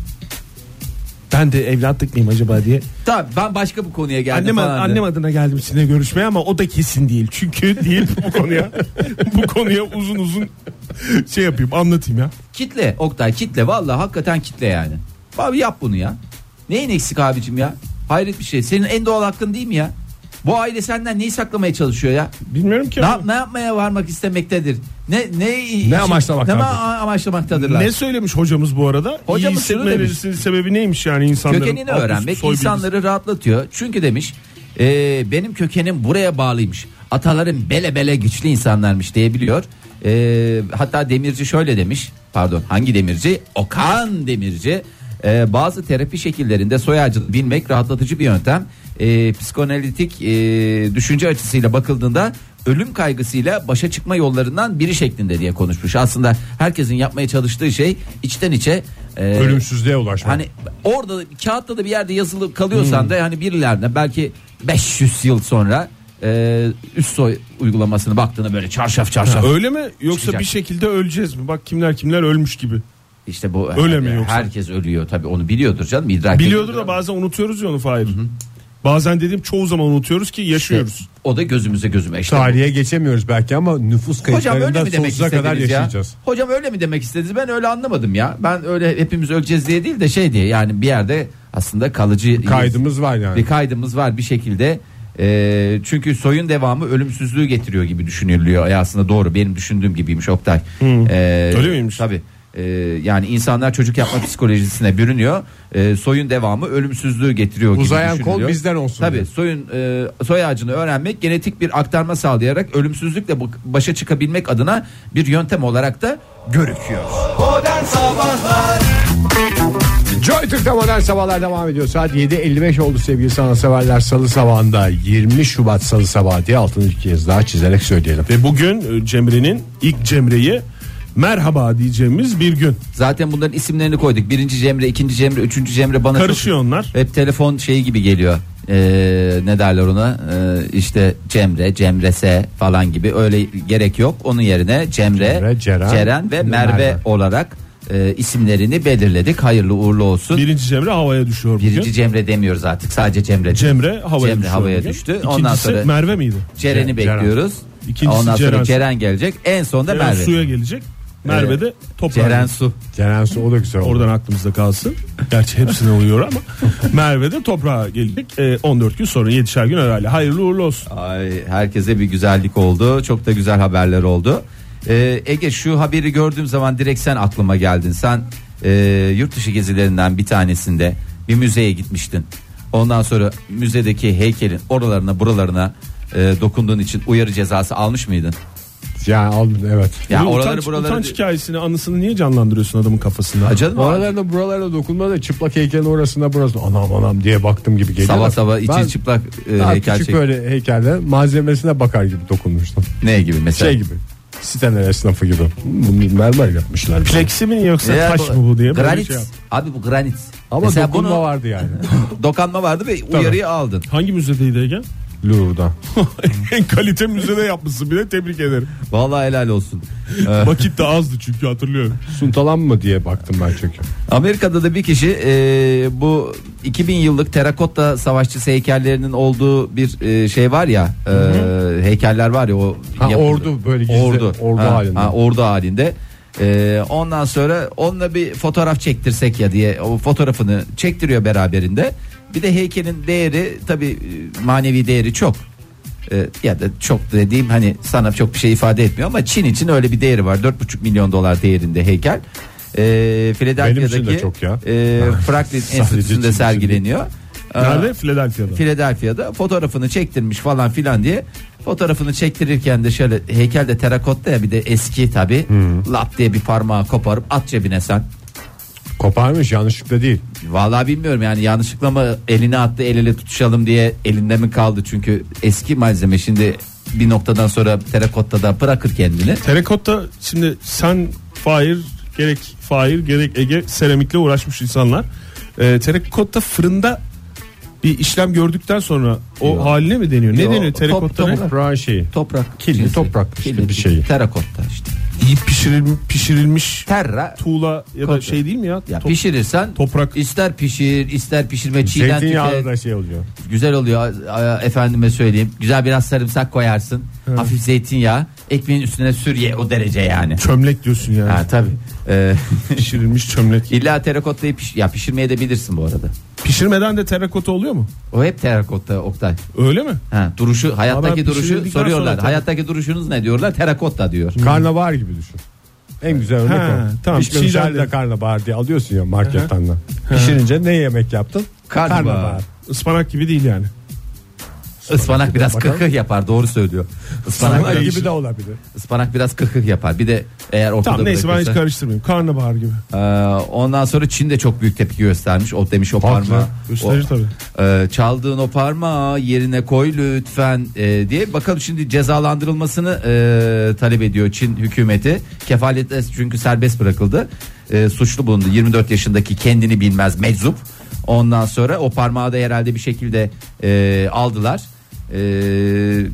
S5: Ben de evlatlık mıyım acaba diye.
S4: Tamam ben başka bir konuya geldim
S5: Annem,
S4: falan. de.
S5: annem adına geldim sizinle görüşmeye ama o da kesin değil. Çünkü değil bu konuya. bu konuya uzun uzun şey yapayım anlatayım ya.
S4: Kitle Oktay kitle vallahi hakikaten kitle yani. Abi yap bunu ya. Neyin eksik abicim ya? Hayret bir şey. Senin en doğal hakkın değil mi ya? Bu aile senden neyi saklamaya çalışıyor ya?
S5: Bilmiyorum ki.
S4: Ne,
S5: abi.
S4: yap- ne yapmaya varmak istemektedir? Ne ne
S3: Ne amaçlamaktadır?
S4: Ne ma- amaçlamaktadırlar?
S5: Ne söylemiş hocamız bu arada?
S4: Hocamız
S5: İyi hissetmemelisinin sebebi neymiş yani insanların?
S4: Kökenini
S5: Alt üst
S4: öğrenmek
S5: soy
S4: insanları rahatlatıyor. Çünkü demiş "Ee, benim kökenim buraya bağlıymış. Atalarım bele bele güçlü insanlarmış diyebiliyor. Ee, hatta demirci şöyle demiş. Pardon hangi demirci? Okan demirci. Ee, bazı terapi şekillerinde soy ağacı bilmek rahatlatıcı bir yöntem. Ee, psikoanalitik e, düşünce ee, açısıyla bakıldığında ölüm kaygısıyla başa çıkma yollarından biri şeklinde diye konuşmuş. Aslında herkesin yapmaya çalıştığı şey içten içe e,
S3: Ölümsüzlüğe ulaşmak.
S4: Hani orada kağıtta da bir yerde yazılı
S5: Hmm.
S4: kalıyorsan da hani birilerine belki 500 yıl sonra e, üst soy uygulamasını baktığında böyle çarşaf çarşaf.
S5: Öyle mi? Yoksa
S4: Çıkacak.
S5: bir şekilde öleceğiz mi? Bak kimler kimler ölmüş gibi.
S4: İşte bu
S5: Öyle
S4: yani
S5: mi yoksa?
S4: herkes ölüyor tabii onu biliyordur canım idrak
S5: Biliyordur
S4: ediyordur
S5: da bazen unutuyoruz ya onu Fahir. Bazen dediğim çoğu zaman unutuyoruz ki yaşıyoruz.
S4: İşte o da gözümüze gözüme işte.
S3: Tarihe geçemiyoruz belki ama nüfus
S4: Hocam öyle
S3: kayıtlarında
S4: mi demek
S3: sonsuza
S4: istediniz
S3: kadar
S4: ya?
S3: yaşayacağız.
S4: Hocam öyle mi demek istediniz? Ben öyle anlamadım ya. Ben öyle hepimiz öleceğiz diye değil de şey diye yani bir yerde aslında kalıcı
S3: Kaydımız var
S4: bir
S3: yani.
S4: kaydımız var bir şekilde. Ee, çünkü soyun devamı ölümsüzlüğü getiriyor gibi düşünülüyor. E aslında doğru benim düşündüğüm gibiymiş Oktay. Ee,
S5: Öyle miymiş?
S4: Tabii. Ee, yani insanlar çocuk yapma psikolojisine bürünüyor. Ee, soyun devamı ölümsüzlüğü getiriyor gibi
S3: Uzayan kol
S4: düşünülüyor.
S3: bizden olsun
S4: Tabii
S3: diyor.
S4: soyun e, soy ağacını öğrenmek genetik bir aktarma sağlayarak ölümsüzlükle bu- başa çıkabilmek adına bir yöntem olarak da görüküyor.
S2: Modern Sabahlar
S3: Joy Türk'te modern sabahlar devam ediyor. Saat 7.55 oldu sevgili sanatseverler. Salı sabahında 20 Şubat Salı sabahı diye altını iki kez daha çizerek söyleyelim.
S5: Ve bugün e, Cemre'nin ilk Cemre'yi merhaba diyeceğimiz bir gün.
S4: Zaten bunların isimlerini koyduk. Birinci Cemre, ikinci Cemre, üçüncü Cemre bana çok-
S5: Karışıyor onlar.
S4: Hep telefon şeyi gibi geliyor. Ee, ne derler ona? Ee, işte Cemre, Cemrese falan gibi öyle gerek yok. Onun yerine Cemre,
S3: Cemre, Ceren,
S4: Ceren ve Merve,
S3: Merve.
S4: olarak e, isimlerini belirledik. Hayırlı uğurlu olsun.
S5: Birinci Cemre havaya düşüyor bugün.
S4: Birinci Cemre demiyoruz artık. Sadece Cemre.
S5: Cemre havaya,
S4: Cemre
S5: düşüyor
S4: havaya
S5: bugün.
S4: düştü.
S5: İkincisi
S4: Ondan sonra
S5: Merve miydi?
S4: Ceren'i
S5: Ceren.
S4: bekliyoruz.
S5: İkincisi
S4: Ondan sonra
S5: Ceren.
S4: Ceren. gelecek. En son da
S5: Ceren
S4: Merve.
S5: suya gelecek. Merve de toprağa.
S4: Ceren Su.
S3: Ceren Su o da güzel oldu.
S5: Oradan aklımızda kalsın. Gerçi hepsine uyuyor ama. Merve de toprağa gelecek. E, 14 gün sonra 7'şer gün herhalde. Hayırlı uğurlu olsun.
S4: Ay, herkese bir güzellik oldu. Çok da güzel haberler oldu. Ee, Ege şu haberi gördüğüm zaman direkt sen aklıma geldin. Sen e, yurt dışı gezilerinden bir tanesinde bir müzeye gitmiştin. Ondan sonra müzedeki heykelin oralarına buralarına e, dokunduğun için uyarı cezası almış mıydın?
S3: Yani aldım evet.
S4: Ya
S5: Bu
S4: oraları
S5: utanç,
S4: buraları
S5: utanç hikayesini anısını niye canlandırıyorsun adamın kafasında?
S4: Ha, canım,
S3: Oralarına buralarına dokunma da çıplak heykelin orasına burasına anam anam diye baktım gibi geliyor.
S4: sabah
S3: da
S4: sabah içi
S3: ben
S4: çıplak e,
S3: daha
S4: heykel
S3: küçük
S4: şey.
S3: böyle heykelle malzemesine bakar gibi dokunmuştum.
S4: Ne gibi mesela?
S3: Şey gibi siteler esnafı gibi. Bunu mermer yapmışlar.
S5: Pleksi mi yoksa
S4: Ya
S5: taş mı bu diye böyle
S4: granit.
S5: şey yap.
S4: Abi bu granit.
S3: Ama dokunma vardı yani.
S4: dokanma vardı ve uyarıyı aldın.
S5: Hangi müzedeydi Ege?
S3: Louvre'da.
S5: en kalite müzede yapmışsın bile tebrik ederim.
S4: Vallahi helal olsun.
S5: Vakit de azdı çünkü hatırlıyorum.
S3: Suntalan mı diye baktım ben çünkü.
S4: Amerika'da da bir kişi e, bu 2000 yıllık terakotta savaşçısı heykellerinin olduğu bir e, şey var ya e, heykeller var ya o
S3: Ha, ordu böyle gizli,
S4: ordu
S3: ordu
S4: Ha,
S3: halinde.
S4: ha, ordu halinde. E, ondan sonra onunla bir fotoğraf çektirsek ya diye o fotoğrafını çektiriyor beraberinde. Bir de heykelin değeri tabi manevi değeri çok. E, ya da çok dediğim hani sana çok bir şey ifade etmiyor ama Çin için öyle bir değeri var. 4,5 milyon dolar değerinde heykel. E, Philadelphia'daki
S3: Benim için de çok ya.
S4: e, Franklin
S3: için
S4: Enstitüsü'nde
S3: de.
S4: sergileniyor. E,
S5: Nerede? Philadelphia'da.
S4: Philadelphia'da fotoğrafını çektirmiş falan filan diye fotoğrafını çektirirken de şöyle heykel de terakotta ya bir de eski tabi lap diye bir parmağı koparıp at cebine sen.
S3: Koparmış yanlışlıkla değil.
S4: Vallahi bilmiyorum yani yanlışlıkla mı eline attı el ele tutuşalım diye elinde mi kaldı çünkü eski malzeme şimdi bir noktadan sonra terakotta da bırakır kendini.
S5: Terakotta şimdi sen Fahir gerek Fahir gerek Ege seramikle uğraşmış insanlar. Ee, terakotta fırında bir işlem gördükten sonra o
S4: Yok.
S5: haline mi deniyor? Ne
S4: Yok,
S5: deniyor terakotta?
S4: top-
S5: ne?
S4: top-
S3: Toprağın şeyi.
S4: Toprak.
S3: Kirli
S4: cinsi.
S3: toprak işte
S4: Kirli
S3: bir şey.
S4: Terakotta işte.
S5: İyi pişirilmiş, pişirilmiş
S4: Terra.
S5: tuğla ya da
S4: Koca.
S5: şey değil mi ya?
S4: Ya
S5: Top-
S4: pişirirsen
S5: toprak.
S4: ister pişir ister pişirme çiğden
S3: Zeytinyağı
S4: tüket.
S3: da şey oluyor.
S4: Güzel oluyor a- a- efendime söyleyeyim. Güzel biraz sarımsak koyarsın. Hafif zeytinyağı. Ekmeğin üstüne sür ye o derece yani.
S5: Çömlek diyorsun yani.
S4: Ha tabii. Ee,
S5: Pişirilmiş çömlek.
S4: illa terakotayı piş ya pişirmeye de bilirsin bu arada.
S5: Pişirmeden de terakota oluyor mu?
S4: O hep terakotta Oktay.
S5: Öyle mi?
S4: Ha, duruşu hayattaki
S5: Ama
S4: duruşu
S5: pişirildikten
S4: soruyorlar.
S5: sonra tabii.
S4: Hayattaki duruşunuz ne diyorlar? Terakotta diyor.
S3: Karnabahar gibi düşün. En güzel örnek
S5: Ha,
S3: o.
S5: tamam,
S3: Pişmemiş
S5: çiğden
S3: halde
S5: de-
S3: karnabahar diye alıyorsun ya marketten de. Pişirince ne yemek yaptın?
S4: Karnabahar.
S5: Ispanak gibi değil yani.
S4: Ispanak biraz kıkıh yapar doğru söylüyor. Ispanak,
S3: Ispanak
S4: biraz,
S3: gibi de olabilir.
S4: ıspanak biraz kıkıh yapar. Bir de eğer ortada
S5: Tamam neyse ben hiç
S4: bırakırsa.
S5: karıştırmayayım. Karnabahar gibi.
S4: Ee, ondan sonra Çin de çok büyük tepki göstermiş. O demiş o parmağı.
S5: Gösterir
S4: o-
S5: tabii.
S4: Ee, çaldığın o parmağı yerine koy lütfen e, diye bakalım şimdi cezalandırılmasını e, talep ediyor Çin hükümeti kefaletle çünkü serbest bırakıldı E, suçlu bulundu 24 yaşındaki kendini bilmez meczup ondan sonra o parmağı da herhalde bir şekilde e, aldılar E,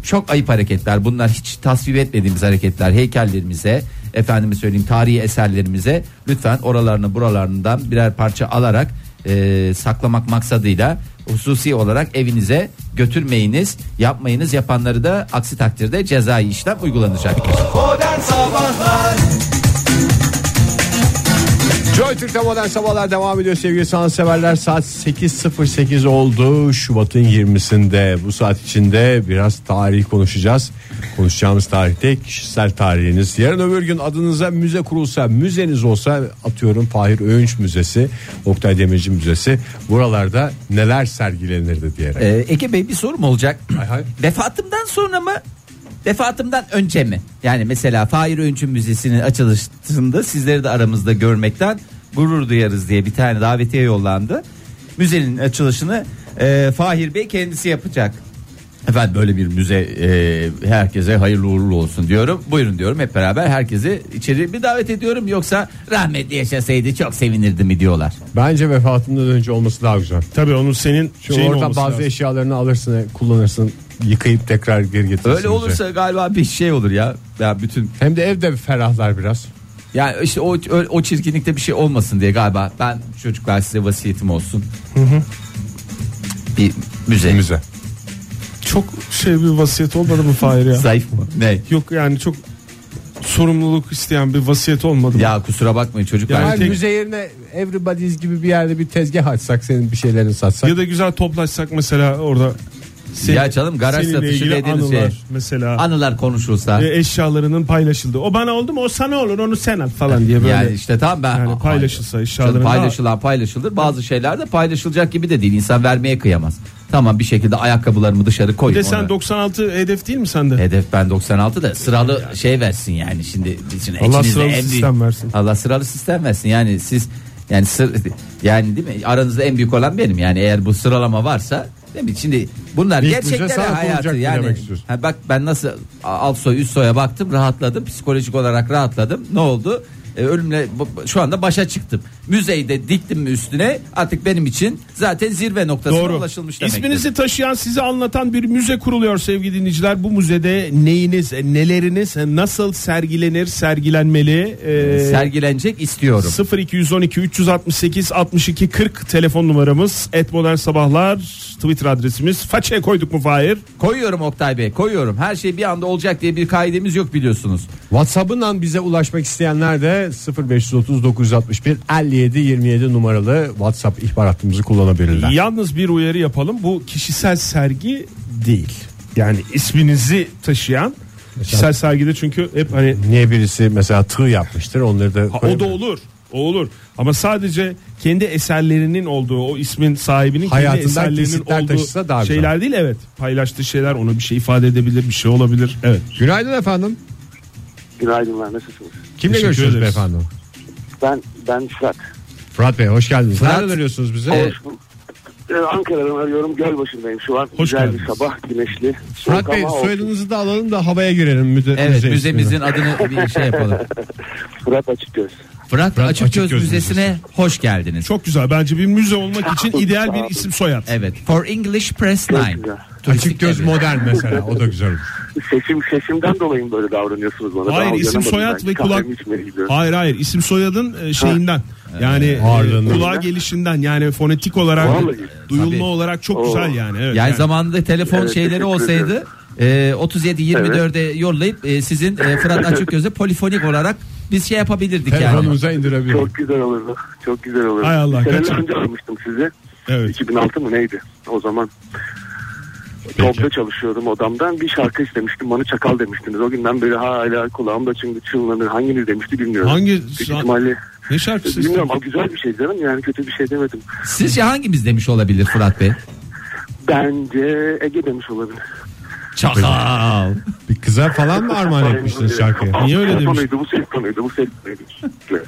S4: çok ayıp hareketler bunlar hiç tasvip etmediğimiz hareketler heykellerimize efendime söyleyeyim tarihi eserlerimize lütfen oralarını buralarından birer parça alarak e, saklamak maksadıyla hususi olarak evinize götürmeyiniz, yapmayınız. Yapanları da aksi takdirde cezai işlem uygulanacaktır.
S2: Modern Sabahlar
S3: Joy Türk'te modern sabahlar devam ediyor sevgili sanatseverler. Saat 8.08 oldu. Şubat'ın 20'sinde bu saat içinde biraz tarih konuşacağız. Konuşacağımız tarihte kişisel tarihiniz. Yarın öbür gün adınıza müze kurulsa, müzeniz olsa atıyorum Fahir Öğünç Müzesi, Oktay Demirci Müzesi. Buralarda neler sergilenirdi diyerek.
S4: Ee, Ege Bey bir sorum olacak.
S3: Hay hay.
S4: Vefatımdan sonra mı? Vefatımdan önce mi? Yani mesela Fahir Öğüncü Müzesi'nin açılışında sizleri de aramızda görmekten gurur duyarız diye bir tane davetiye yollandı. Müzenin açılışını e, Fahir Bey kendisi yapacak. Efendim böyle bir müze e, herkese hayırlı uğurlu olsun diyorum. Buyurun diyorum hep beraber herkesi içeri bir davet ediyorum. Yoksa rahmetli yaşasaydı çok sevinirdi mi diyorlar.
S3: Bence vefatından önce olması daha güzel.
S5: Tabii onun senin
S3: Çünkü
S5: şeyin
S3: oradan
S5: Şey olması
S3: bazı
S5: lazım.
S3: eşyalarını alırsın, kullanırsın, yıkayıp tekrar geri getirirsin.
S4: Öyle
S3: müzeye.
S4: olursa galiba bir şey olur ya. Ya bütün
S3: hem de evde ferahlar biraz.
S4: Ya işte o, o o çirkinlikte bir şey olmasın diye galiba. Ben çocuklar size vasiyetim olsun. Bir müze.
S3: Müze.
S5: Çok şey bir vasiyet olmadı mı Fahir ya?
S4: Zayıf mı? Ne?
S5: Yok yani çok sorumluluk isteyen bir vasiyet olmadı mı?
S4: Ya kusura bakmayın çocuklar.
S5: Ya
S3: Hayır,
S5: tek-
S3: müze yerine Everybody's gibi bir yerde bir tezgah açsak senin bir şeylerini satsak.
S5: Ya da güzel toplaşsak mesela orada. Senin,
S4: Ya canım, garaj
S5: seninle
S4: satışı
S5: ilgili
S4: dediğiniz
S5: anılar
S4: şey.
S5: mesela.
S4: Anılar konuşulsa.
S5: e, eşyalarının paylaşıldığı. O bana oldu mu o sana olur onu sen al falan diye böyle.
S4: Yani işte tamam ben
S5: Yani paylaşılsa
S4: Hayır.
S5: inşallah.
S4: Canım paylaşılan paylaşılır. Bazı şeyler de paylaşılacak gibi de değil. İnsan vermeye kıyamaz. Tamam bir şekilde ayakkabılarımı dışarı
S5: Bir
S4: koyayım.
S5: de sen
S4: ona. E,
S5: 96 hedef değil mi sende?
S4: Hedef ben 96 da sıralı şey versin yani şimdi için
S5: Allah
S4: içinizde
S5: sıralı
S4: en büyük-
S5: sistem versin.
S4: Allah sıralı sistem versin. Yani siz yani sır yani değil mi? Aranızda en büyük olan benim. Yani eğer bu sıralama varsa değil mi? Şimdi bunlar
S3: İlk müze
S4: gerçekler
S3: sanat
S4: hayatı
S3: olacak mı
S4: yani.
S3: demek istiyorsun?
S4: Ha bak ben nasıl a- alt soy üst soya baktım rahatladım. Psikolojik olarak rahatladım. Ne oldu? E, ölümle bu- bu- şu anda başa çıktım. Müzeyi de diktim mi üstüne artık benim için zaten zirve noktasına
S5: Doğru.
S4: ulaşılmış demektir.
S5: İsminizi taşıyan sizi anlatan bir müze kuruluyor sevgili dinleyiciler. Bu müzede neyiniz, neleriniz, nasıl sergilenir, sergilenmeli? Ee,
S4: sergilenecek istiyorum.
S5: 0212 368 62 40 telefon numaramız. Et Modern Sabahlar Twitter adresimiz. Façe koyduk mu Fahir?
S4: Koyuyorum Oktay Bey koyuyorum. Her şey bir anda olacak diye bir kaidemiz yok biliyorsunuz.
S3: WhatsApp'ından bize ulaşmak isteyenler de 0530 961 57 27 numaralı WhatsApp ihbar hattımızı kullanabilirler.
S5: Yalnız bir uyarı yapalım. Bu kişisel sergi değil. Yani isminizi taşıyan kişisel sergide çünkü hep hani
S3: Niye birisi mesela tığ yapmıştır onları da
S5: Ha, o da
S3: koyabilir.
S5: olur. O olur. Ama sadece kendi eserlerinin olduğu o ismin sahibinin kendi
S3: Hayatından
S5: eserlerinin
S3: kesitler taşısa daha
S5: olduğu
S3: güzel.
S5: şeyler değil evet. Paylaştığı şeyler ona bir şey ifade edebilir bir şey olabilir. Evet.
S3: Günaydın efendim.
S6: Günaydınlar nasılsınız?
S3: Kimle
S5: Teşekkür
S3: görüşüyoruz
S5: ederiz.
S3: beyefendi?
S6: Ben ben Fırat.
S3: Fırat Bey hoş geldiniz.
S4: Fırat-
S3: Nereden arıyorsunuz bize?
S4: Evet.
S6: Ee, Ankara'dan arıyorum. Gölbaşı'ndayım şu an.
S5: Hoş
S6: Güzel
S5: geldiniz.
S6: bir sabah güneşli. Soğuk
S3: Fırat Bey
S6: ama olsun.
S3: soyadınızı da alalım da havaya girelim. Müze,
S4: Evet
S3: müze
S4: müzemizin
S3: ismini.
S4: adını bir şey yapalım.
S6: Fırat Açıkgöz.
S4: Fırat, Açık, Göz,
S3: Açıkgöz
S4: Müzesi'ne hoş geldiniz.
S5: Çok güzel. Bence bir müze olmak için ideal bir isim soyad.
S4: Evet. For English Press 9.
S6: Çok güzel.
S3: Açık göz modern mesela o da güzel. olur.
S6: Sesim sesimden dolayı mı böyle davranıyorsunuz bana?
S5: Hayır
S6: Daha
S5: isim
S6: uyanamadım
S5: soyad
S6: ben.
S5: ve kulak.
S6: Kahvemi içmeye gidiyorum.
S5: Hayır hayır isim soyadın e, şeyinden. Yani e,
S3: ağırlığından.
S5: kulağa gelişinden yani fonetik olarak
S6: Vallahi.
S5: duyulma
S4: Tabii.
S5: olarak çok güzel yani. Evet,
S4: Yani
S5: yani.
S4: zamanında telefon
S6: Evet,
S4: şeyleri
S6: teşekkür
S4: olsaydı
S6: ederim.
S4: e, 37 24'e yollayıp e, sizin e, Fırat Açıkgöz'ü polifonik olarak biz şey yapabilirdik yani.
S3: Telefonunuza indirebilirim.
S6: Çok güzel olurdu. Çok güzel olurdu.
S5: Hay Allah,
S6: Bir sene
S5: kaç-
S6: önce almıştım sizi.
S5: Evet.
S6: 2006 mı neydi o zaman? Topla çalışıyordum odamdan. Bir şarkı istemiştim. Bana çakal demiştiniz. O günden beri hala kulağımda çünkü çınlanır. Hanginiz demişti bilmiyorum.
S5: Hangi
S6: Büyük ihtimalle
S5: ne
S6: Ee,
S5: şarkısı?
S6: Bilmiyorum ama güzel bir şey canım yani kötü bir şey demedim.
S4: Sizce hangimiz demiş olabilir Fırat Bey?
S6: Bence Ege demiş olabilir.
S4: Çakal.
S3: Bir kıza falan mı armağan etmiştin şarkıyı?
S5: Niye öyle demiş?
S6: Konuydu bu ses konuydu bu ses konuydu.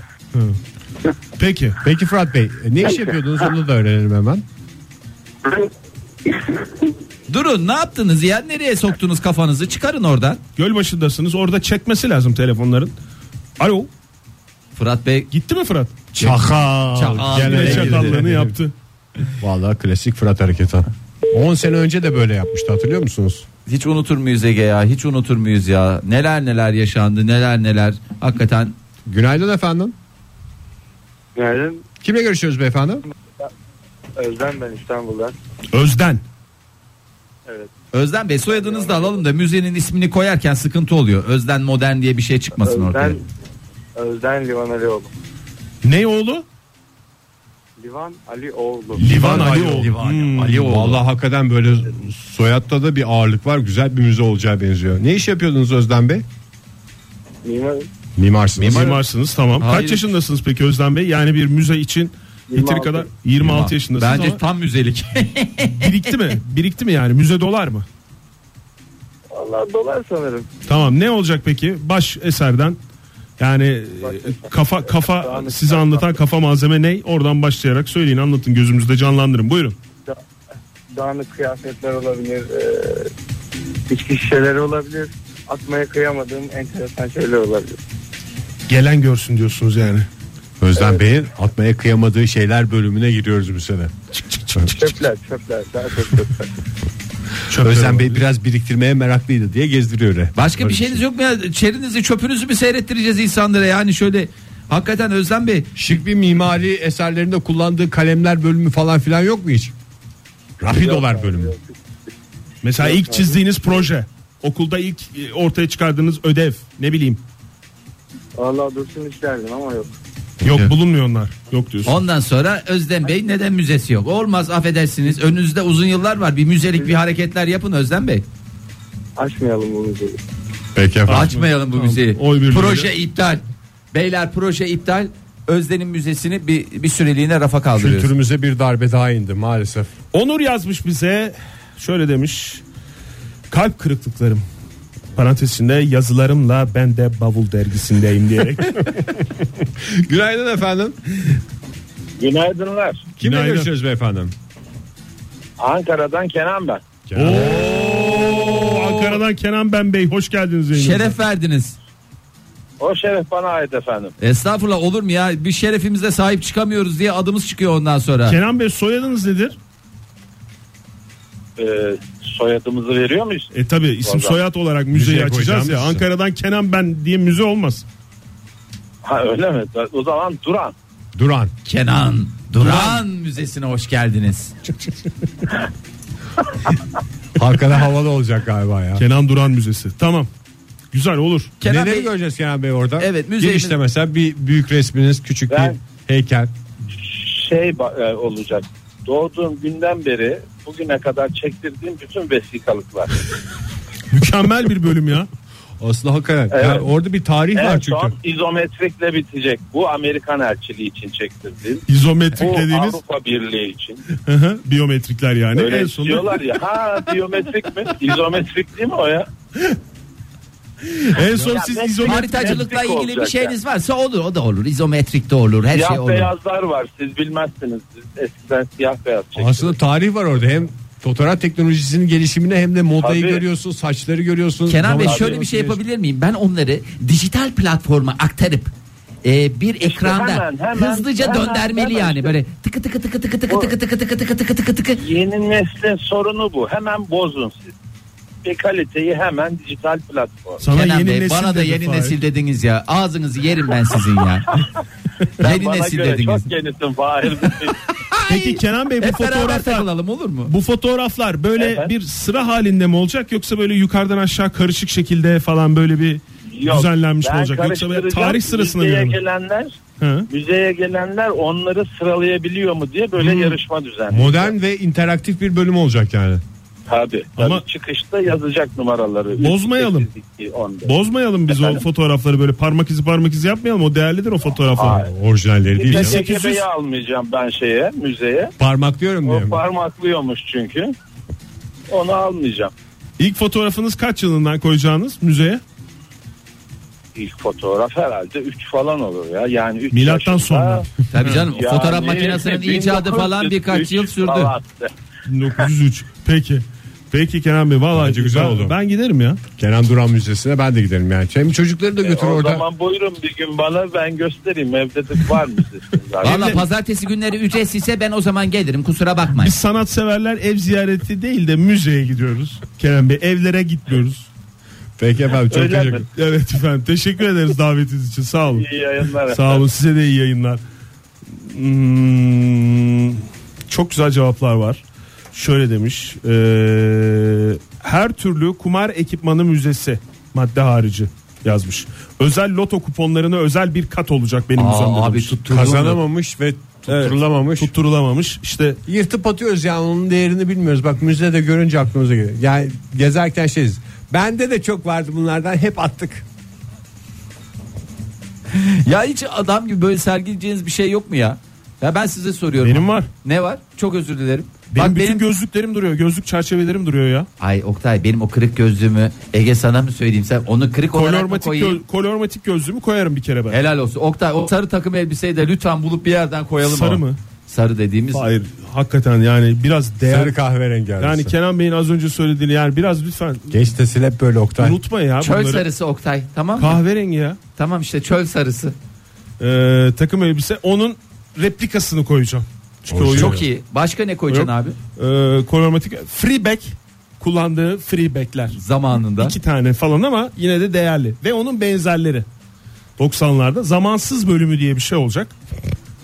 S5: Peki.
S3: Peki Fırat Bey ne iş yapıyordunuz onu da öğrenelim hemen.
S4: Durun ne yaptınız ya? Nereye soktunuz kafanızı? Çıkarın oradan.
S5: Gölbaşı'dasınız. Orada çekmesi lazım telefonların. Alo.
S4: Fırat Bey
S5: Gitti mi Fırat?
S3: Çakal.
S4: Çakal.
S3: Gene
S5: Yine
S4: Nereye
S5: çakallığını
S3: çakallığını yap.
S5: yaptı.
S3: Vallahi klasik Fırat hareketi. 10 sene önce de böyle yapmıştı hatırlıyor musunuz?
S4: hiç unutur muyuz Ege ya? Hiç unutur muyuz ya? Neler neler yaşandı neler neler. Hakikaten
S3: Günaydın efendim.
S7: Günaydın.
S3: Kimle görüşüyoruz beyefendi?
S7: Özlem ben İstanbul'dan.
S5: Özden.
S4: Özden Bey soyadınızı da alalım da müzenin ismini koyarken sıkıntı oluyor. Özden Modern diye bir şey çıkmasın ortaya.
S7: Özden, Özden Livan Alioğlu.
S5: Ne oğlu?
S7: Livan Alioğlu.
S5: Livan Alioğlu. Hmm.
S3: Vallahi hakikaten böyle soyatta da bir ağırlık var. Güzel bir müze olacağı benziyor. Ne iş yapıyordunuz Özden Bey?
S7: Mimar
S3: Mimarsınız.
S5: Mimarsınız tamam.
S4: Hayır.
S5: Kaç yaşındasınız peki Özden Bey? Yani bir müze için yeteri
S7: 26.
S5: kadar 26 yaşındasınız
S4: Bence
S5: ama
S4: tam müzelik.
S5: birikti mi? Birikti mi yani? Müze dolar mı?
S7: Valla dolar sanırım.
S5: Tamam ne olacak peki? Baş eserden yani e, kafa kafa size anlatan kafa malzeme ne? Oradan başlayarak söyleyin anlatın gözümüzde canlandırın. Buyurun.
S7: Dağınık kıyafetler olabilir. eee, içki şişeleri olabilir. Atmaya kıyamadığım enteresan şeyler olabilir.
S5: Gelen görsün diyorsunuz yani.
S3: Özden Bey'in atmaya kıyamadığı şeyler bölümüne giriyoruz bu sene.
S7: Çöpler çöpler. Daha çok çöpler.
S5: Çöpler
S3: Özden Bey
S5: olabilir.
S3: biraz biriktirmeye meraklıydı diye gezdiriyor. öyle.
S4: Başka bir şey şeyiniz yok mu ya? Çerinizi çöpünüzü mü seyrettireceğiz insanlara? Yani şöyle hakikaten Özlem Bey
S3: Şık bir mimari eserlerinde kullandığı kalemler bölümü falan filan yok mu hiç? Rapidolar bölümü.
S5: Mesela ilk çizdiğiniz proje. Okulda ilk e, ortaya çıkardığınız ödev. Ne bileyim.
S7: Valla dursun isterdim ama yok.
S5: Yok bulunmuyor onlar. Yok diyorsun.
S4: ondan sonra Özlem Bey neden müzesi yok? Olmaz affedersiniz önünüzde uzun yıllar var bir müzelik bir hareketler yapın Özlem Bey.
S7: Açmayalım bunu. dedi.
S3: Peki efendim.
S4: Açmayalım bu
S5: Tamam.
S4: müzeyi.
S5: Oy birliğiyle.
S4: Proje iptal. Beyler proje iptal. Özden'in müzesini bir, bir süreliğine rafa kaldırıyoruz.
S3: Kültürümüze bir darbe daha indi maalesef.
S5: Onur yazmış bize şöyle demiş. Kalp kırıklıklarım. Parantez içinde yazılarımla ben de bavul dergisindeyim diyerek.
S3: Günaydın efendim.
S8: Günaydınlar.
S3: Kimle
S5: Günaydın.
S3: görüşüyoruz beyefendi?
S8: Ankara'dan Kenan ben.
S5: Oo, Ankara'dan Kenan Ben Bey hoş geldiniz yayınımıza.
S4: Şeref verdiniz.
S8: O şeref bana ait efendim.
S4: Estağfurullah olur mu ya? Bir şerefimize sahip çıkamıyoruz diye adımız çıkıyor ondan sonra.
S5: Kenan Bey soyadınız nedir?
S8: Ee, soyadımızı veriyor muyuz?
S5: E tabi isim
S8: Vallahi.
S5: soyad olarak müzeyi
S3: Müzeye
S5: açacağız
S3: koyacağımız
S5: ya.
S3: için.
S5: Ankara'dan Kenan Ben diye müze olmaz.
S8: Ha öyle mi? O zaman Duran.
S3: Duran.
S4: Kenan Duran, Müzesi'ne hoş geldiniz.
S3: Hakikaten havalı olacak galiba ya.
S5: Kenan Duran Müzesi. Tamam. Güzel olur.
S4: Kenan
S3: Neleri
S4: Bey-
S3: göreceğiz Kenan Bey orada?
S4: Evet, müzeyimiz-
S3: Girişte mesela bir büyük resminiz, küçük
S8: Ben-
S3: bir heykel.
S8: Şey ba- e, olacak. Doğduğum günden beri bugüne kadar çektirdiğim bütün vesikalıklar.
S5: Mükemmel bir bölüm ya.
S3: Aslında hakikaten. Yani orada bir tarih var
S8: en
S3: çünkü.
S8: son izometrikle bitecek. Bu Amerikan elçiliği için çektirdiğim.
S5: İzometrik
S8: Bu
S5: dediğiniz
S8: Avrupa Birliği için.
S5: Hı hı, biyometrikler yani.
S8: Öyle
S5: en sonunda
S8: diyorlar ya. Ha biyometrik mi? İzometrik değil mi o ya?
S5: en son
S8: Ya
S5: siz
S8: ben-
S5: izometrik
S4: Haritacılıkla
S8: Metrik
S4: ilgili bir
S8: olacak
S4: şeyiniz varsa olur o da olur. İzometrik de olur her
S8: siyah
S4: şey olur.
S8: beyazlar var. Siz bilmezsiniz. Siz eskiden siyah beyaz çektirdiniz.
S3: Aslında tarih var orada. Hem fotoğraf teknolojisinin gelişimine hem de modayı
S8: Tabii.
S3: görüyorsun, saçları görüyorsun.
S4: Kenan Bey
S3: Zaman-
S4: şöyle bir şey yapabilir miyim? Ben onları dijital platforma aktarıp e, bir ekranda
S8: hemen, hemen,
S4: hızlıca
S8: hemen,
S4: döndermeli
S8: hemen
S4: yani
S8: işte.
S4: böyle tıkı tıkı tıkı tıkı tıkı
S8: Bu-
S4: tıkı tıkı tıkı tıkı tıkı tıkı tıkı.
S8: Yeni neslin sorunu bu. Hemen bozun siz. Bir kaliteyi hemen dijital platform.
S5: Sana
S4: Kenan
S5: yeni
S4: Bey
S5: nesil
S4: bana da
S5: dedi
S4: yeni
S5: Fahir.
S4: nesil dediniz ya. Ağzınızı yerim ben sizin ya. yeni
S8: Bana
S4: nesil
S8: göre
S4: dediniz.
S8: çok yenisin Fahir.
S5: Peki Kenan Bey bu
S4: Hep beraber
S5: fotoğraflar
S4: takılalım olur mu?
S5: bu fotoğraflar böyle
S8: Evet.
S5: bir sıra halinde mi olacak yoksa böyle yukarıdan aşağı karışık şekilde falan böyle bir
S8: Yok,
S5: düzenlenmiş mi
S8: ben
S5: olacak yoksa böyle
S8: karıştıracağım.
S5: tarih sırasına
S8: müzeye
S5: göre mi?
S8: gelenler,
S5: Hı.
S8: müzeye gelenler onları sıralayabiliyor mu diye böyle
S5: Hmm.
S8: yarışma düzenli.
S3: Modern ve interaktif bir bölüm olacak yani.
S8: Tabii.
S5: Ama-
S8: Ama çıkışta yazacak numaraları. Üç,
S5: Bozmayalım.
S8: sekiz, iki, on dört.
S5: Bozmayalım biz o
S8: Efendim?
S5: fotoğrafları böyle parmak izi parmak izi yapmayalım o değerlidir o fotoğraflar.
S3: Orijinalleri değil.
S8: Bir
S3: ya.
S5: Biz-
S8: TGB'yi almayacağım ben şeye, müzeye.
S3: Parmaklıyorum
S8: O
S3: diyorum.
S8: parmaklıyormuş çünkü. Onu almayacağım.
S5: İlk fotoğrafınız kaç yılından koyacağınız müzeye?
S8: İlk fotoğraf herhalde 3 falan olur ya. Yani 3
S5: Milattan sonra.
S4: Tabii canım
S8: Yani
S4: fotoğraf makinesinin icadı falan
S8: 1903
S4: birkaç yıl sürdü.
S8: falan.
S5: 1903. Peki. Peki Kenan Bey vallahi
S3: Bence güzel
S5: ben-
S3: oldu.
S5: Ben giderim ya.
S3: Kenan Duran Müzesi'ne ben de giderim yani. Hem çocukları da götür
S8: E, O
S3: orada.
S8: zaman buyurun bir gün bana ben göstereyim evde de var mı sizin zaten?
S4: Valla pazartesi günleri ücretsizse ben o zaman gelirim kusura bakmayın.
S5: Biz sanatseverler ev ziyareti değil de müzeye gidiyoruz. Kenan Bey evlere gitmiyoruz.
S3: Peki efendim çok
S8: Öyle
S3: teşekkür
S8: mi?
S5: Evet efendim teşekkür ederiz davetiniz için sağ olun.
S8: İyi yayınlar.
S5: Sağ olun size de iyi yayınlar. Hmm, çok güzel cevaplar var. Şöyle demiş. eee, her türlü kumar ekipmanı müzesi madde harici yazmış. Özel loto kuponlarına özel bir kat olacak benim
S4: Aa,
S5: müzemde.
S4: abi
S5: demiş.
S4: tutturulamamış.
S3: Kazanamamış ve tutturulamamış.
S5: Tutturulamamış. İşte
S3: Yırtıp atıyoruz yani onun değerini bilmiyoruz. Bak müzede görünce aklımıza geliyor. Yani gezerken şeyiz. Bende de çok vardı bunlardan hep attık.
S4: Ya hiç adam gibi böyle sergileyeceğiniz bir şey yok mu ya? Ya ben size soruyorum.
S5: benim var.
S4: Ne var? Çok özür dilerim.
S5: Benim
S4: Bak
S5: bütün
S4: benim
S5: gözlüklerim duruyor. Gözlük çerçevelerim duruyor ya.
S4: Ay Oktay benim o kırık gözlüğümü Ege sana mı söyleyeyim sen onu kırık olarak mı
S5: Kolormatik,
S4: koyayım?
S5: göz- kolormatik gözlüğümü koyarım bir kere ben.
S4: Helal olsun. Oktay o sarı takım elbiseyi de lütfen bulup bir yerden koyalım.
S5: Sarı
S4: o.
S5: mı?
S4: Sarı dediğimiz.
S5: Hayır hakikaten yani biraz değer.
S3: Sarı kahverengi arası.
S5: Yani Kenan Bey'in az önce söylediğini yani biraz lütfen
S3: Genç nesil hep böyle Oktay.
S5: unutma ya
S4: Çöl
S5: bunları.
S4: sarısı Oktay tamam mı?
S5: Kahverengi ya.
S4: Tamam işte çöl sarısı.
S5: Ee, takım elbise onun replikasını koyacağım. Çünkü o
S4: Çok iyi. Başka ne koyacaksın
S5: Yok.
S4: abi?
S5: Ee, kolormatik free back kullandığı free backler.
S4: Zamanında.
S5: İki tane falan ama yine de değerli. Ve onun benzerleri. 90'larda zamansız bölümü diye bir şey olacak.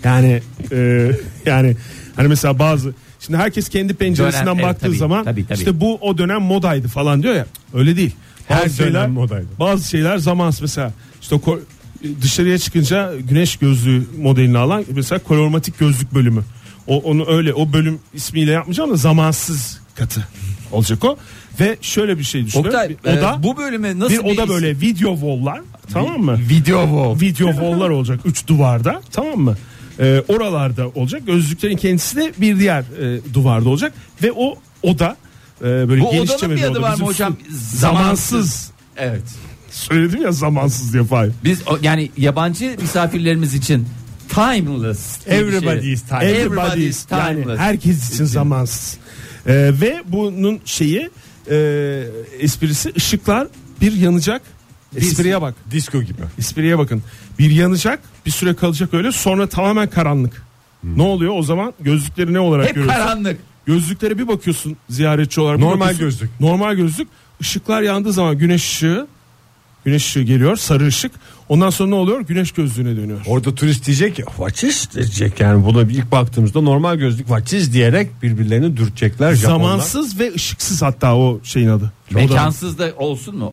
S5: Yani e, yani hani mesela bazı şimdi herkes kendi penceresinden
S4: Dönem, evet,
S5: baktığı
S4: tabii,
S5: zaman
S4: tabii, tabii.
S5: işte bu o dönem modaydı falan diyor ya. Öyle değil.
S3: Her dönem modaydı.
S5: Bazı şeyler zamansız mesela işte ko- dışarıya çıkınca güneş gözlüğü modelini alan mesela kolormatik gözlük bölümü. O onu öyle o bölüm ismiyle yapmayacağım da zamansız katı olacak o. Ve şöyle bir şey düşünüyorum.
S4: Oktay
S5: Bir oda
S4: e, bu bölüme nasıl
S5: bir oda
S4: isim-
S5: böyle video wall'lar tamam mı?
S3: Video bu.
S5: video wall'lar olacak üç duvarda tamam mı? Ee, oralarda olacak. Gözlüklerin kendisi de bir diğer e, duvarda olacak ve o oda e, böyle
S4: Bu
S5: genişçe
S4: odanın bir
S5: bir
S4: adı
S5: oda.
S4: var mı
S5: Bizim
S4: hocam? Zamansız.
S5: su- Zamansız.
S4: Evet.
S5: Söyledim ya zamansız diye Fahir.
S4: Biz o- yani yabancı misafirlerimiz için timeless. diye bir şey.
S5: Everybody is
S3: Hani
S5: timeless.
S4: Everybody is
S5: Yani
S4: timeless.
S5: herkes için zamansız. Ee, ve bunun şeyi e, esprisi ışıklar bir yanacak. Espriye bak.
S3: Disko gibi.
S5: Espriye bakın. Bir yanacak, bir süre kalacak öyle. Sonra tamamen karanlık.
S3: Hmm.
S5: Ne oluyor o zaman? Gözlükleri ne olarak
S4: Hep
S5: görüyorsun?
S4: karanlık.
S5: Gözlüklere bir bakıyorsun ziyaretçi olarak. bir
S3: Normal
S5: bakıyorsun.
S3: gözlük.
S5: Normal gözlük. Işıklar yandığı zaman güneş ışığı güneş ışığı geliyor, sarı ışık. Ondan sonra ne oluyor? Güneş gözlüğüne dönüyor.
S3: Orada turist diyecek ki "Vaçiz" diyecek yani buna ilk baktığımızda normal gözlük vaçiz diyerek birbirlerini dürtecekler Japonlar.
S5: Zamansız ve ışıksız hatta o şeyin adı. O da-
S4: Mekansız da olsun mu?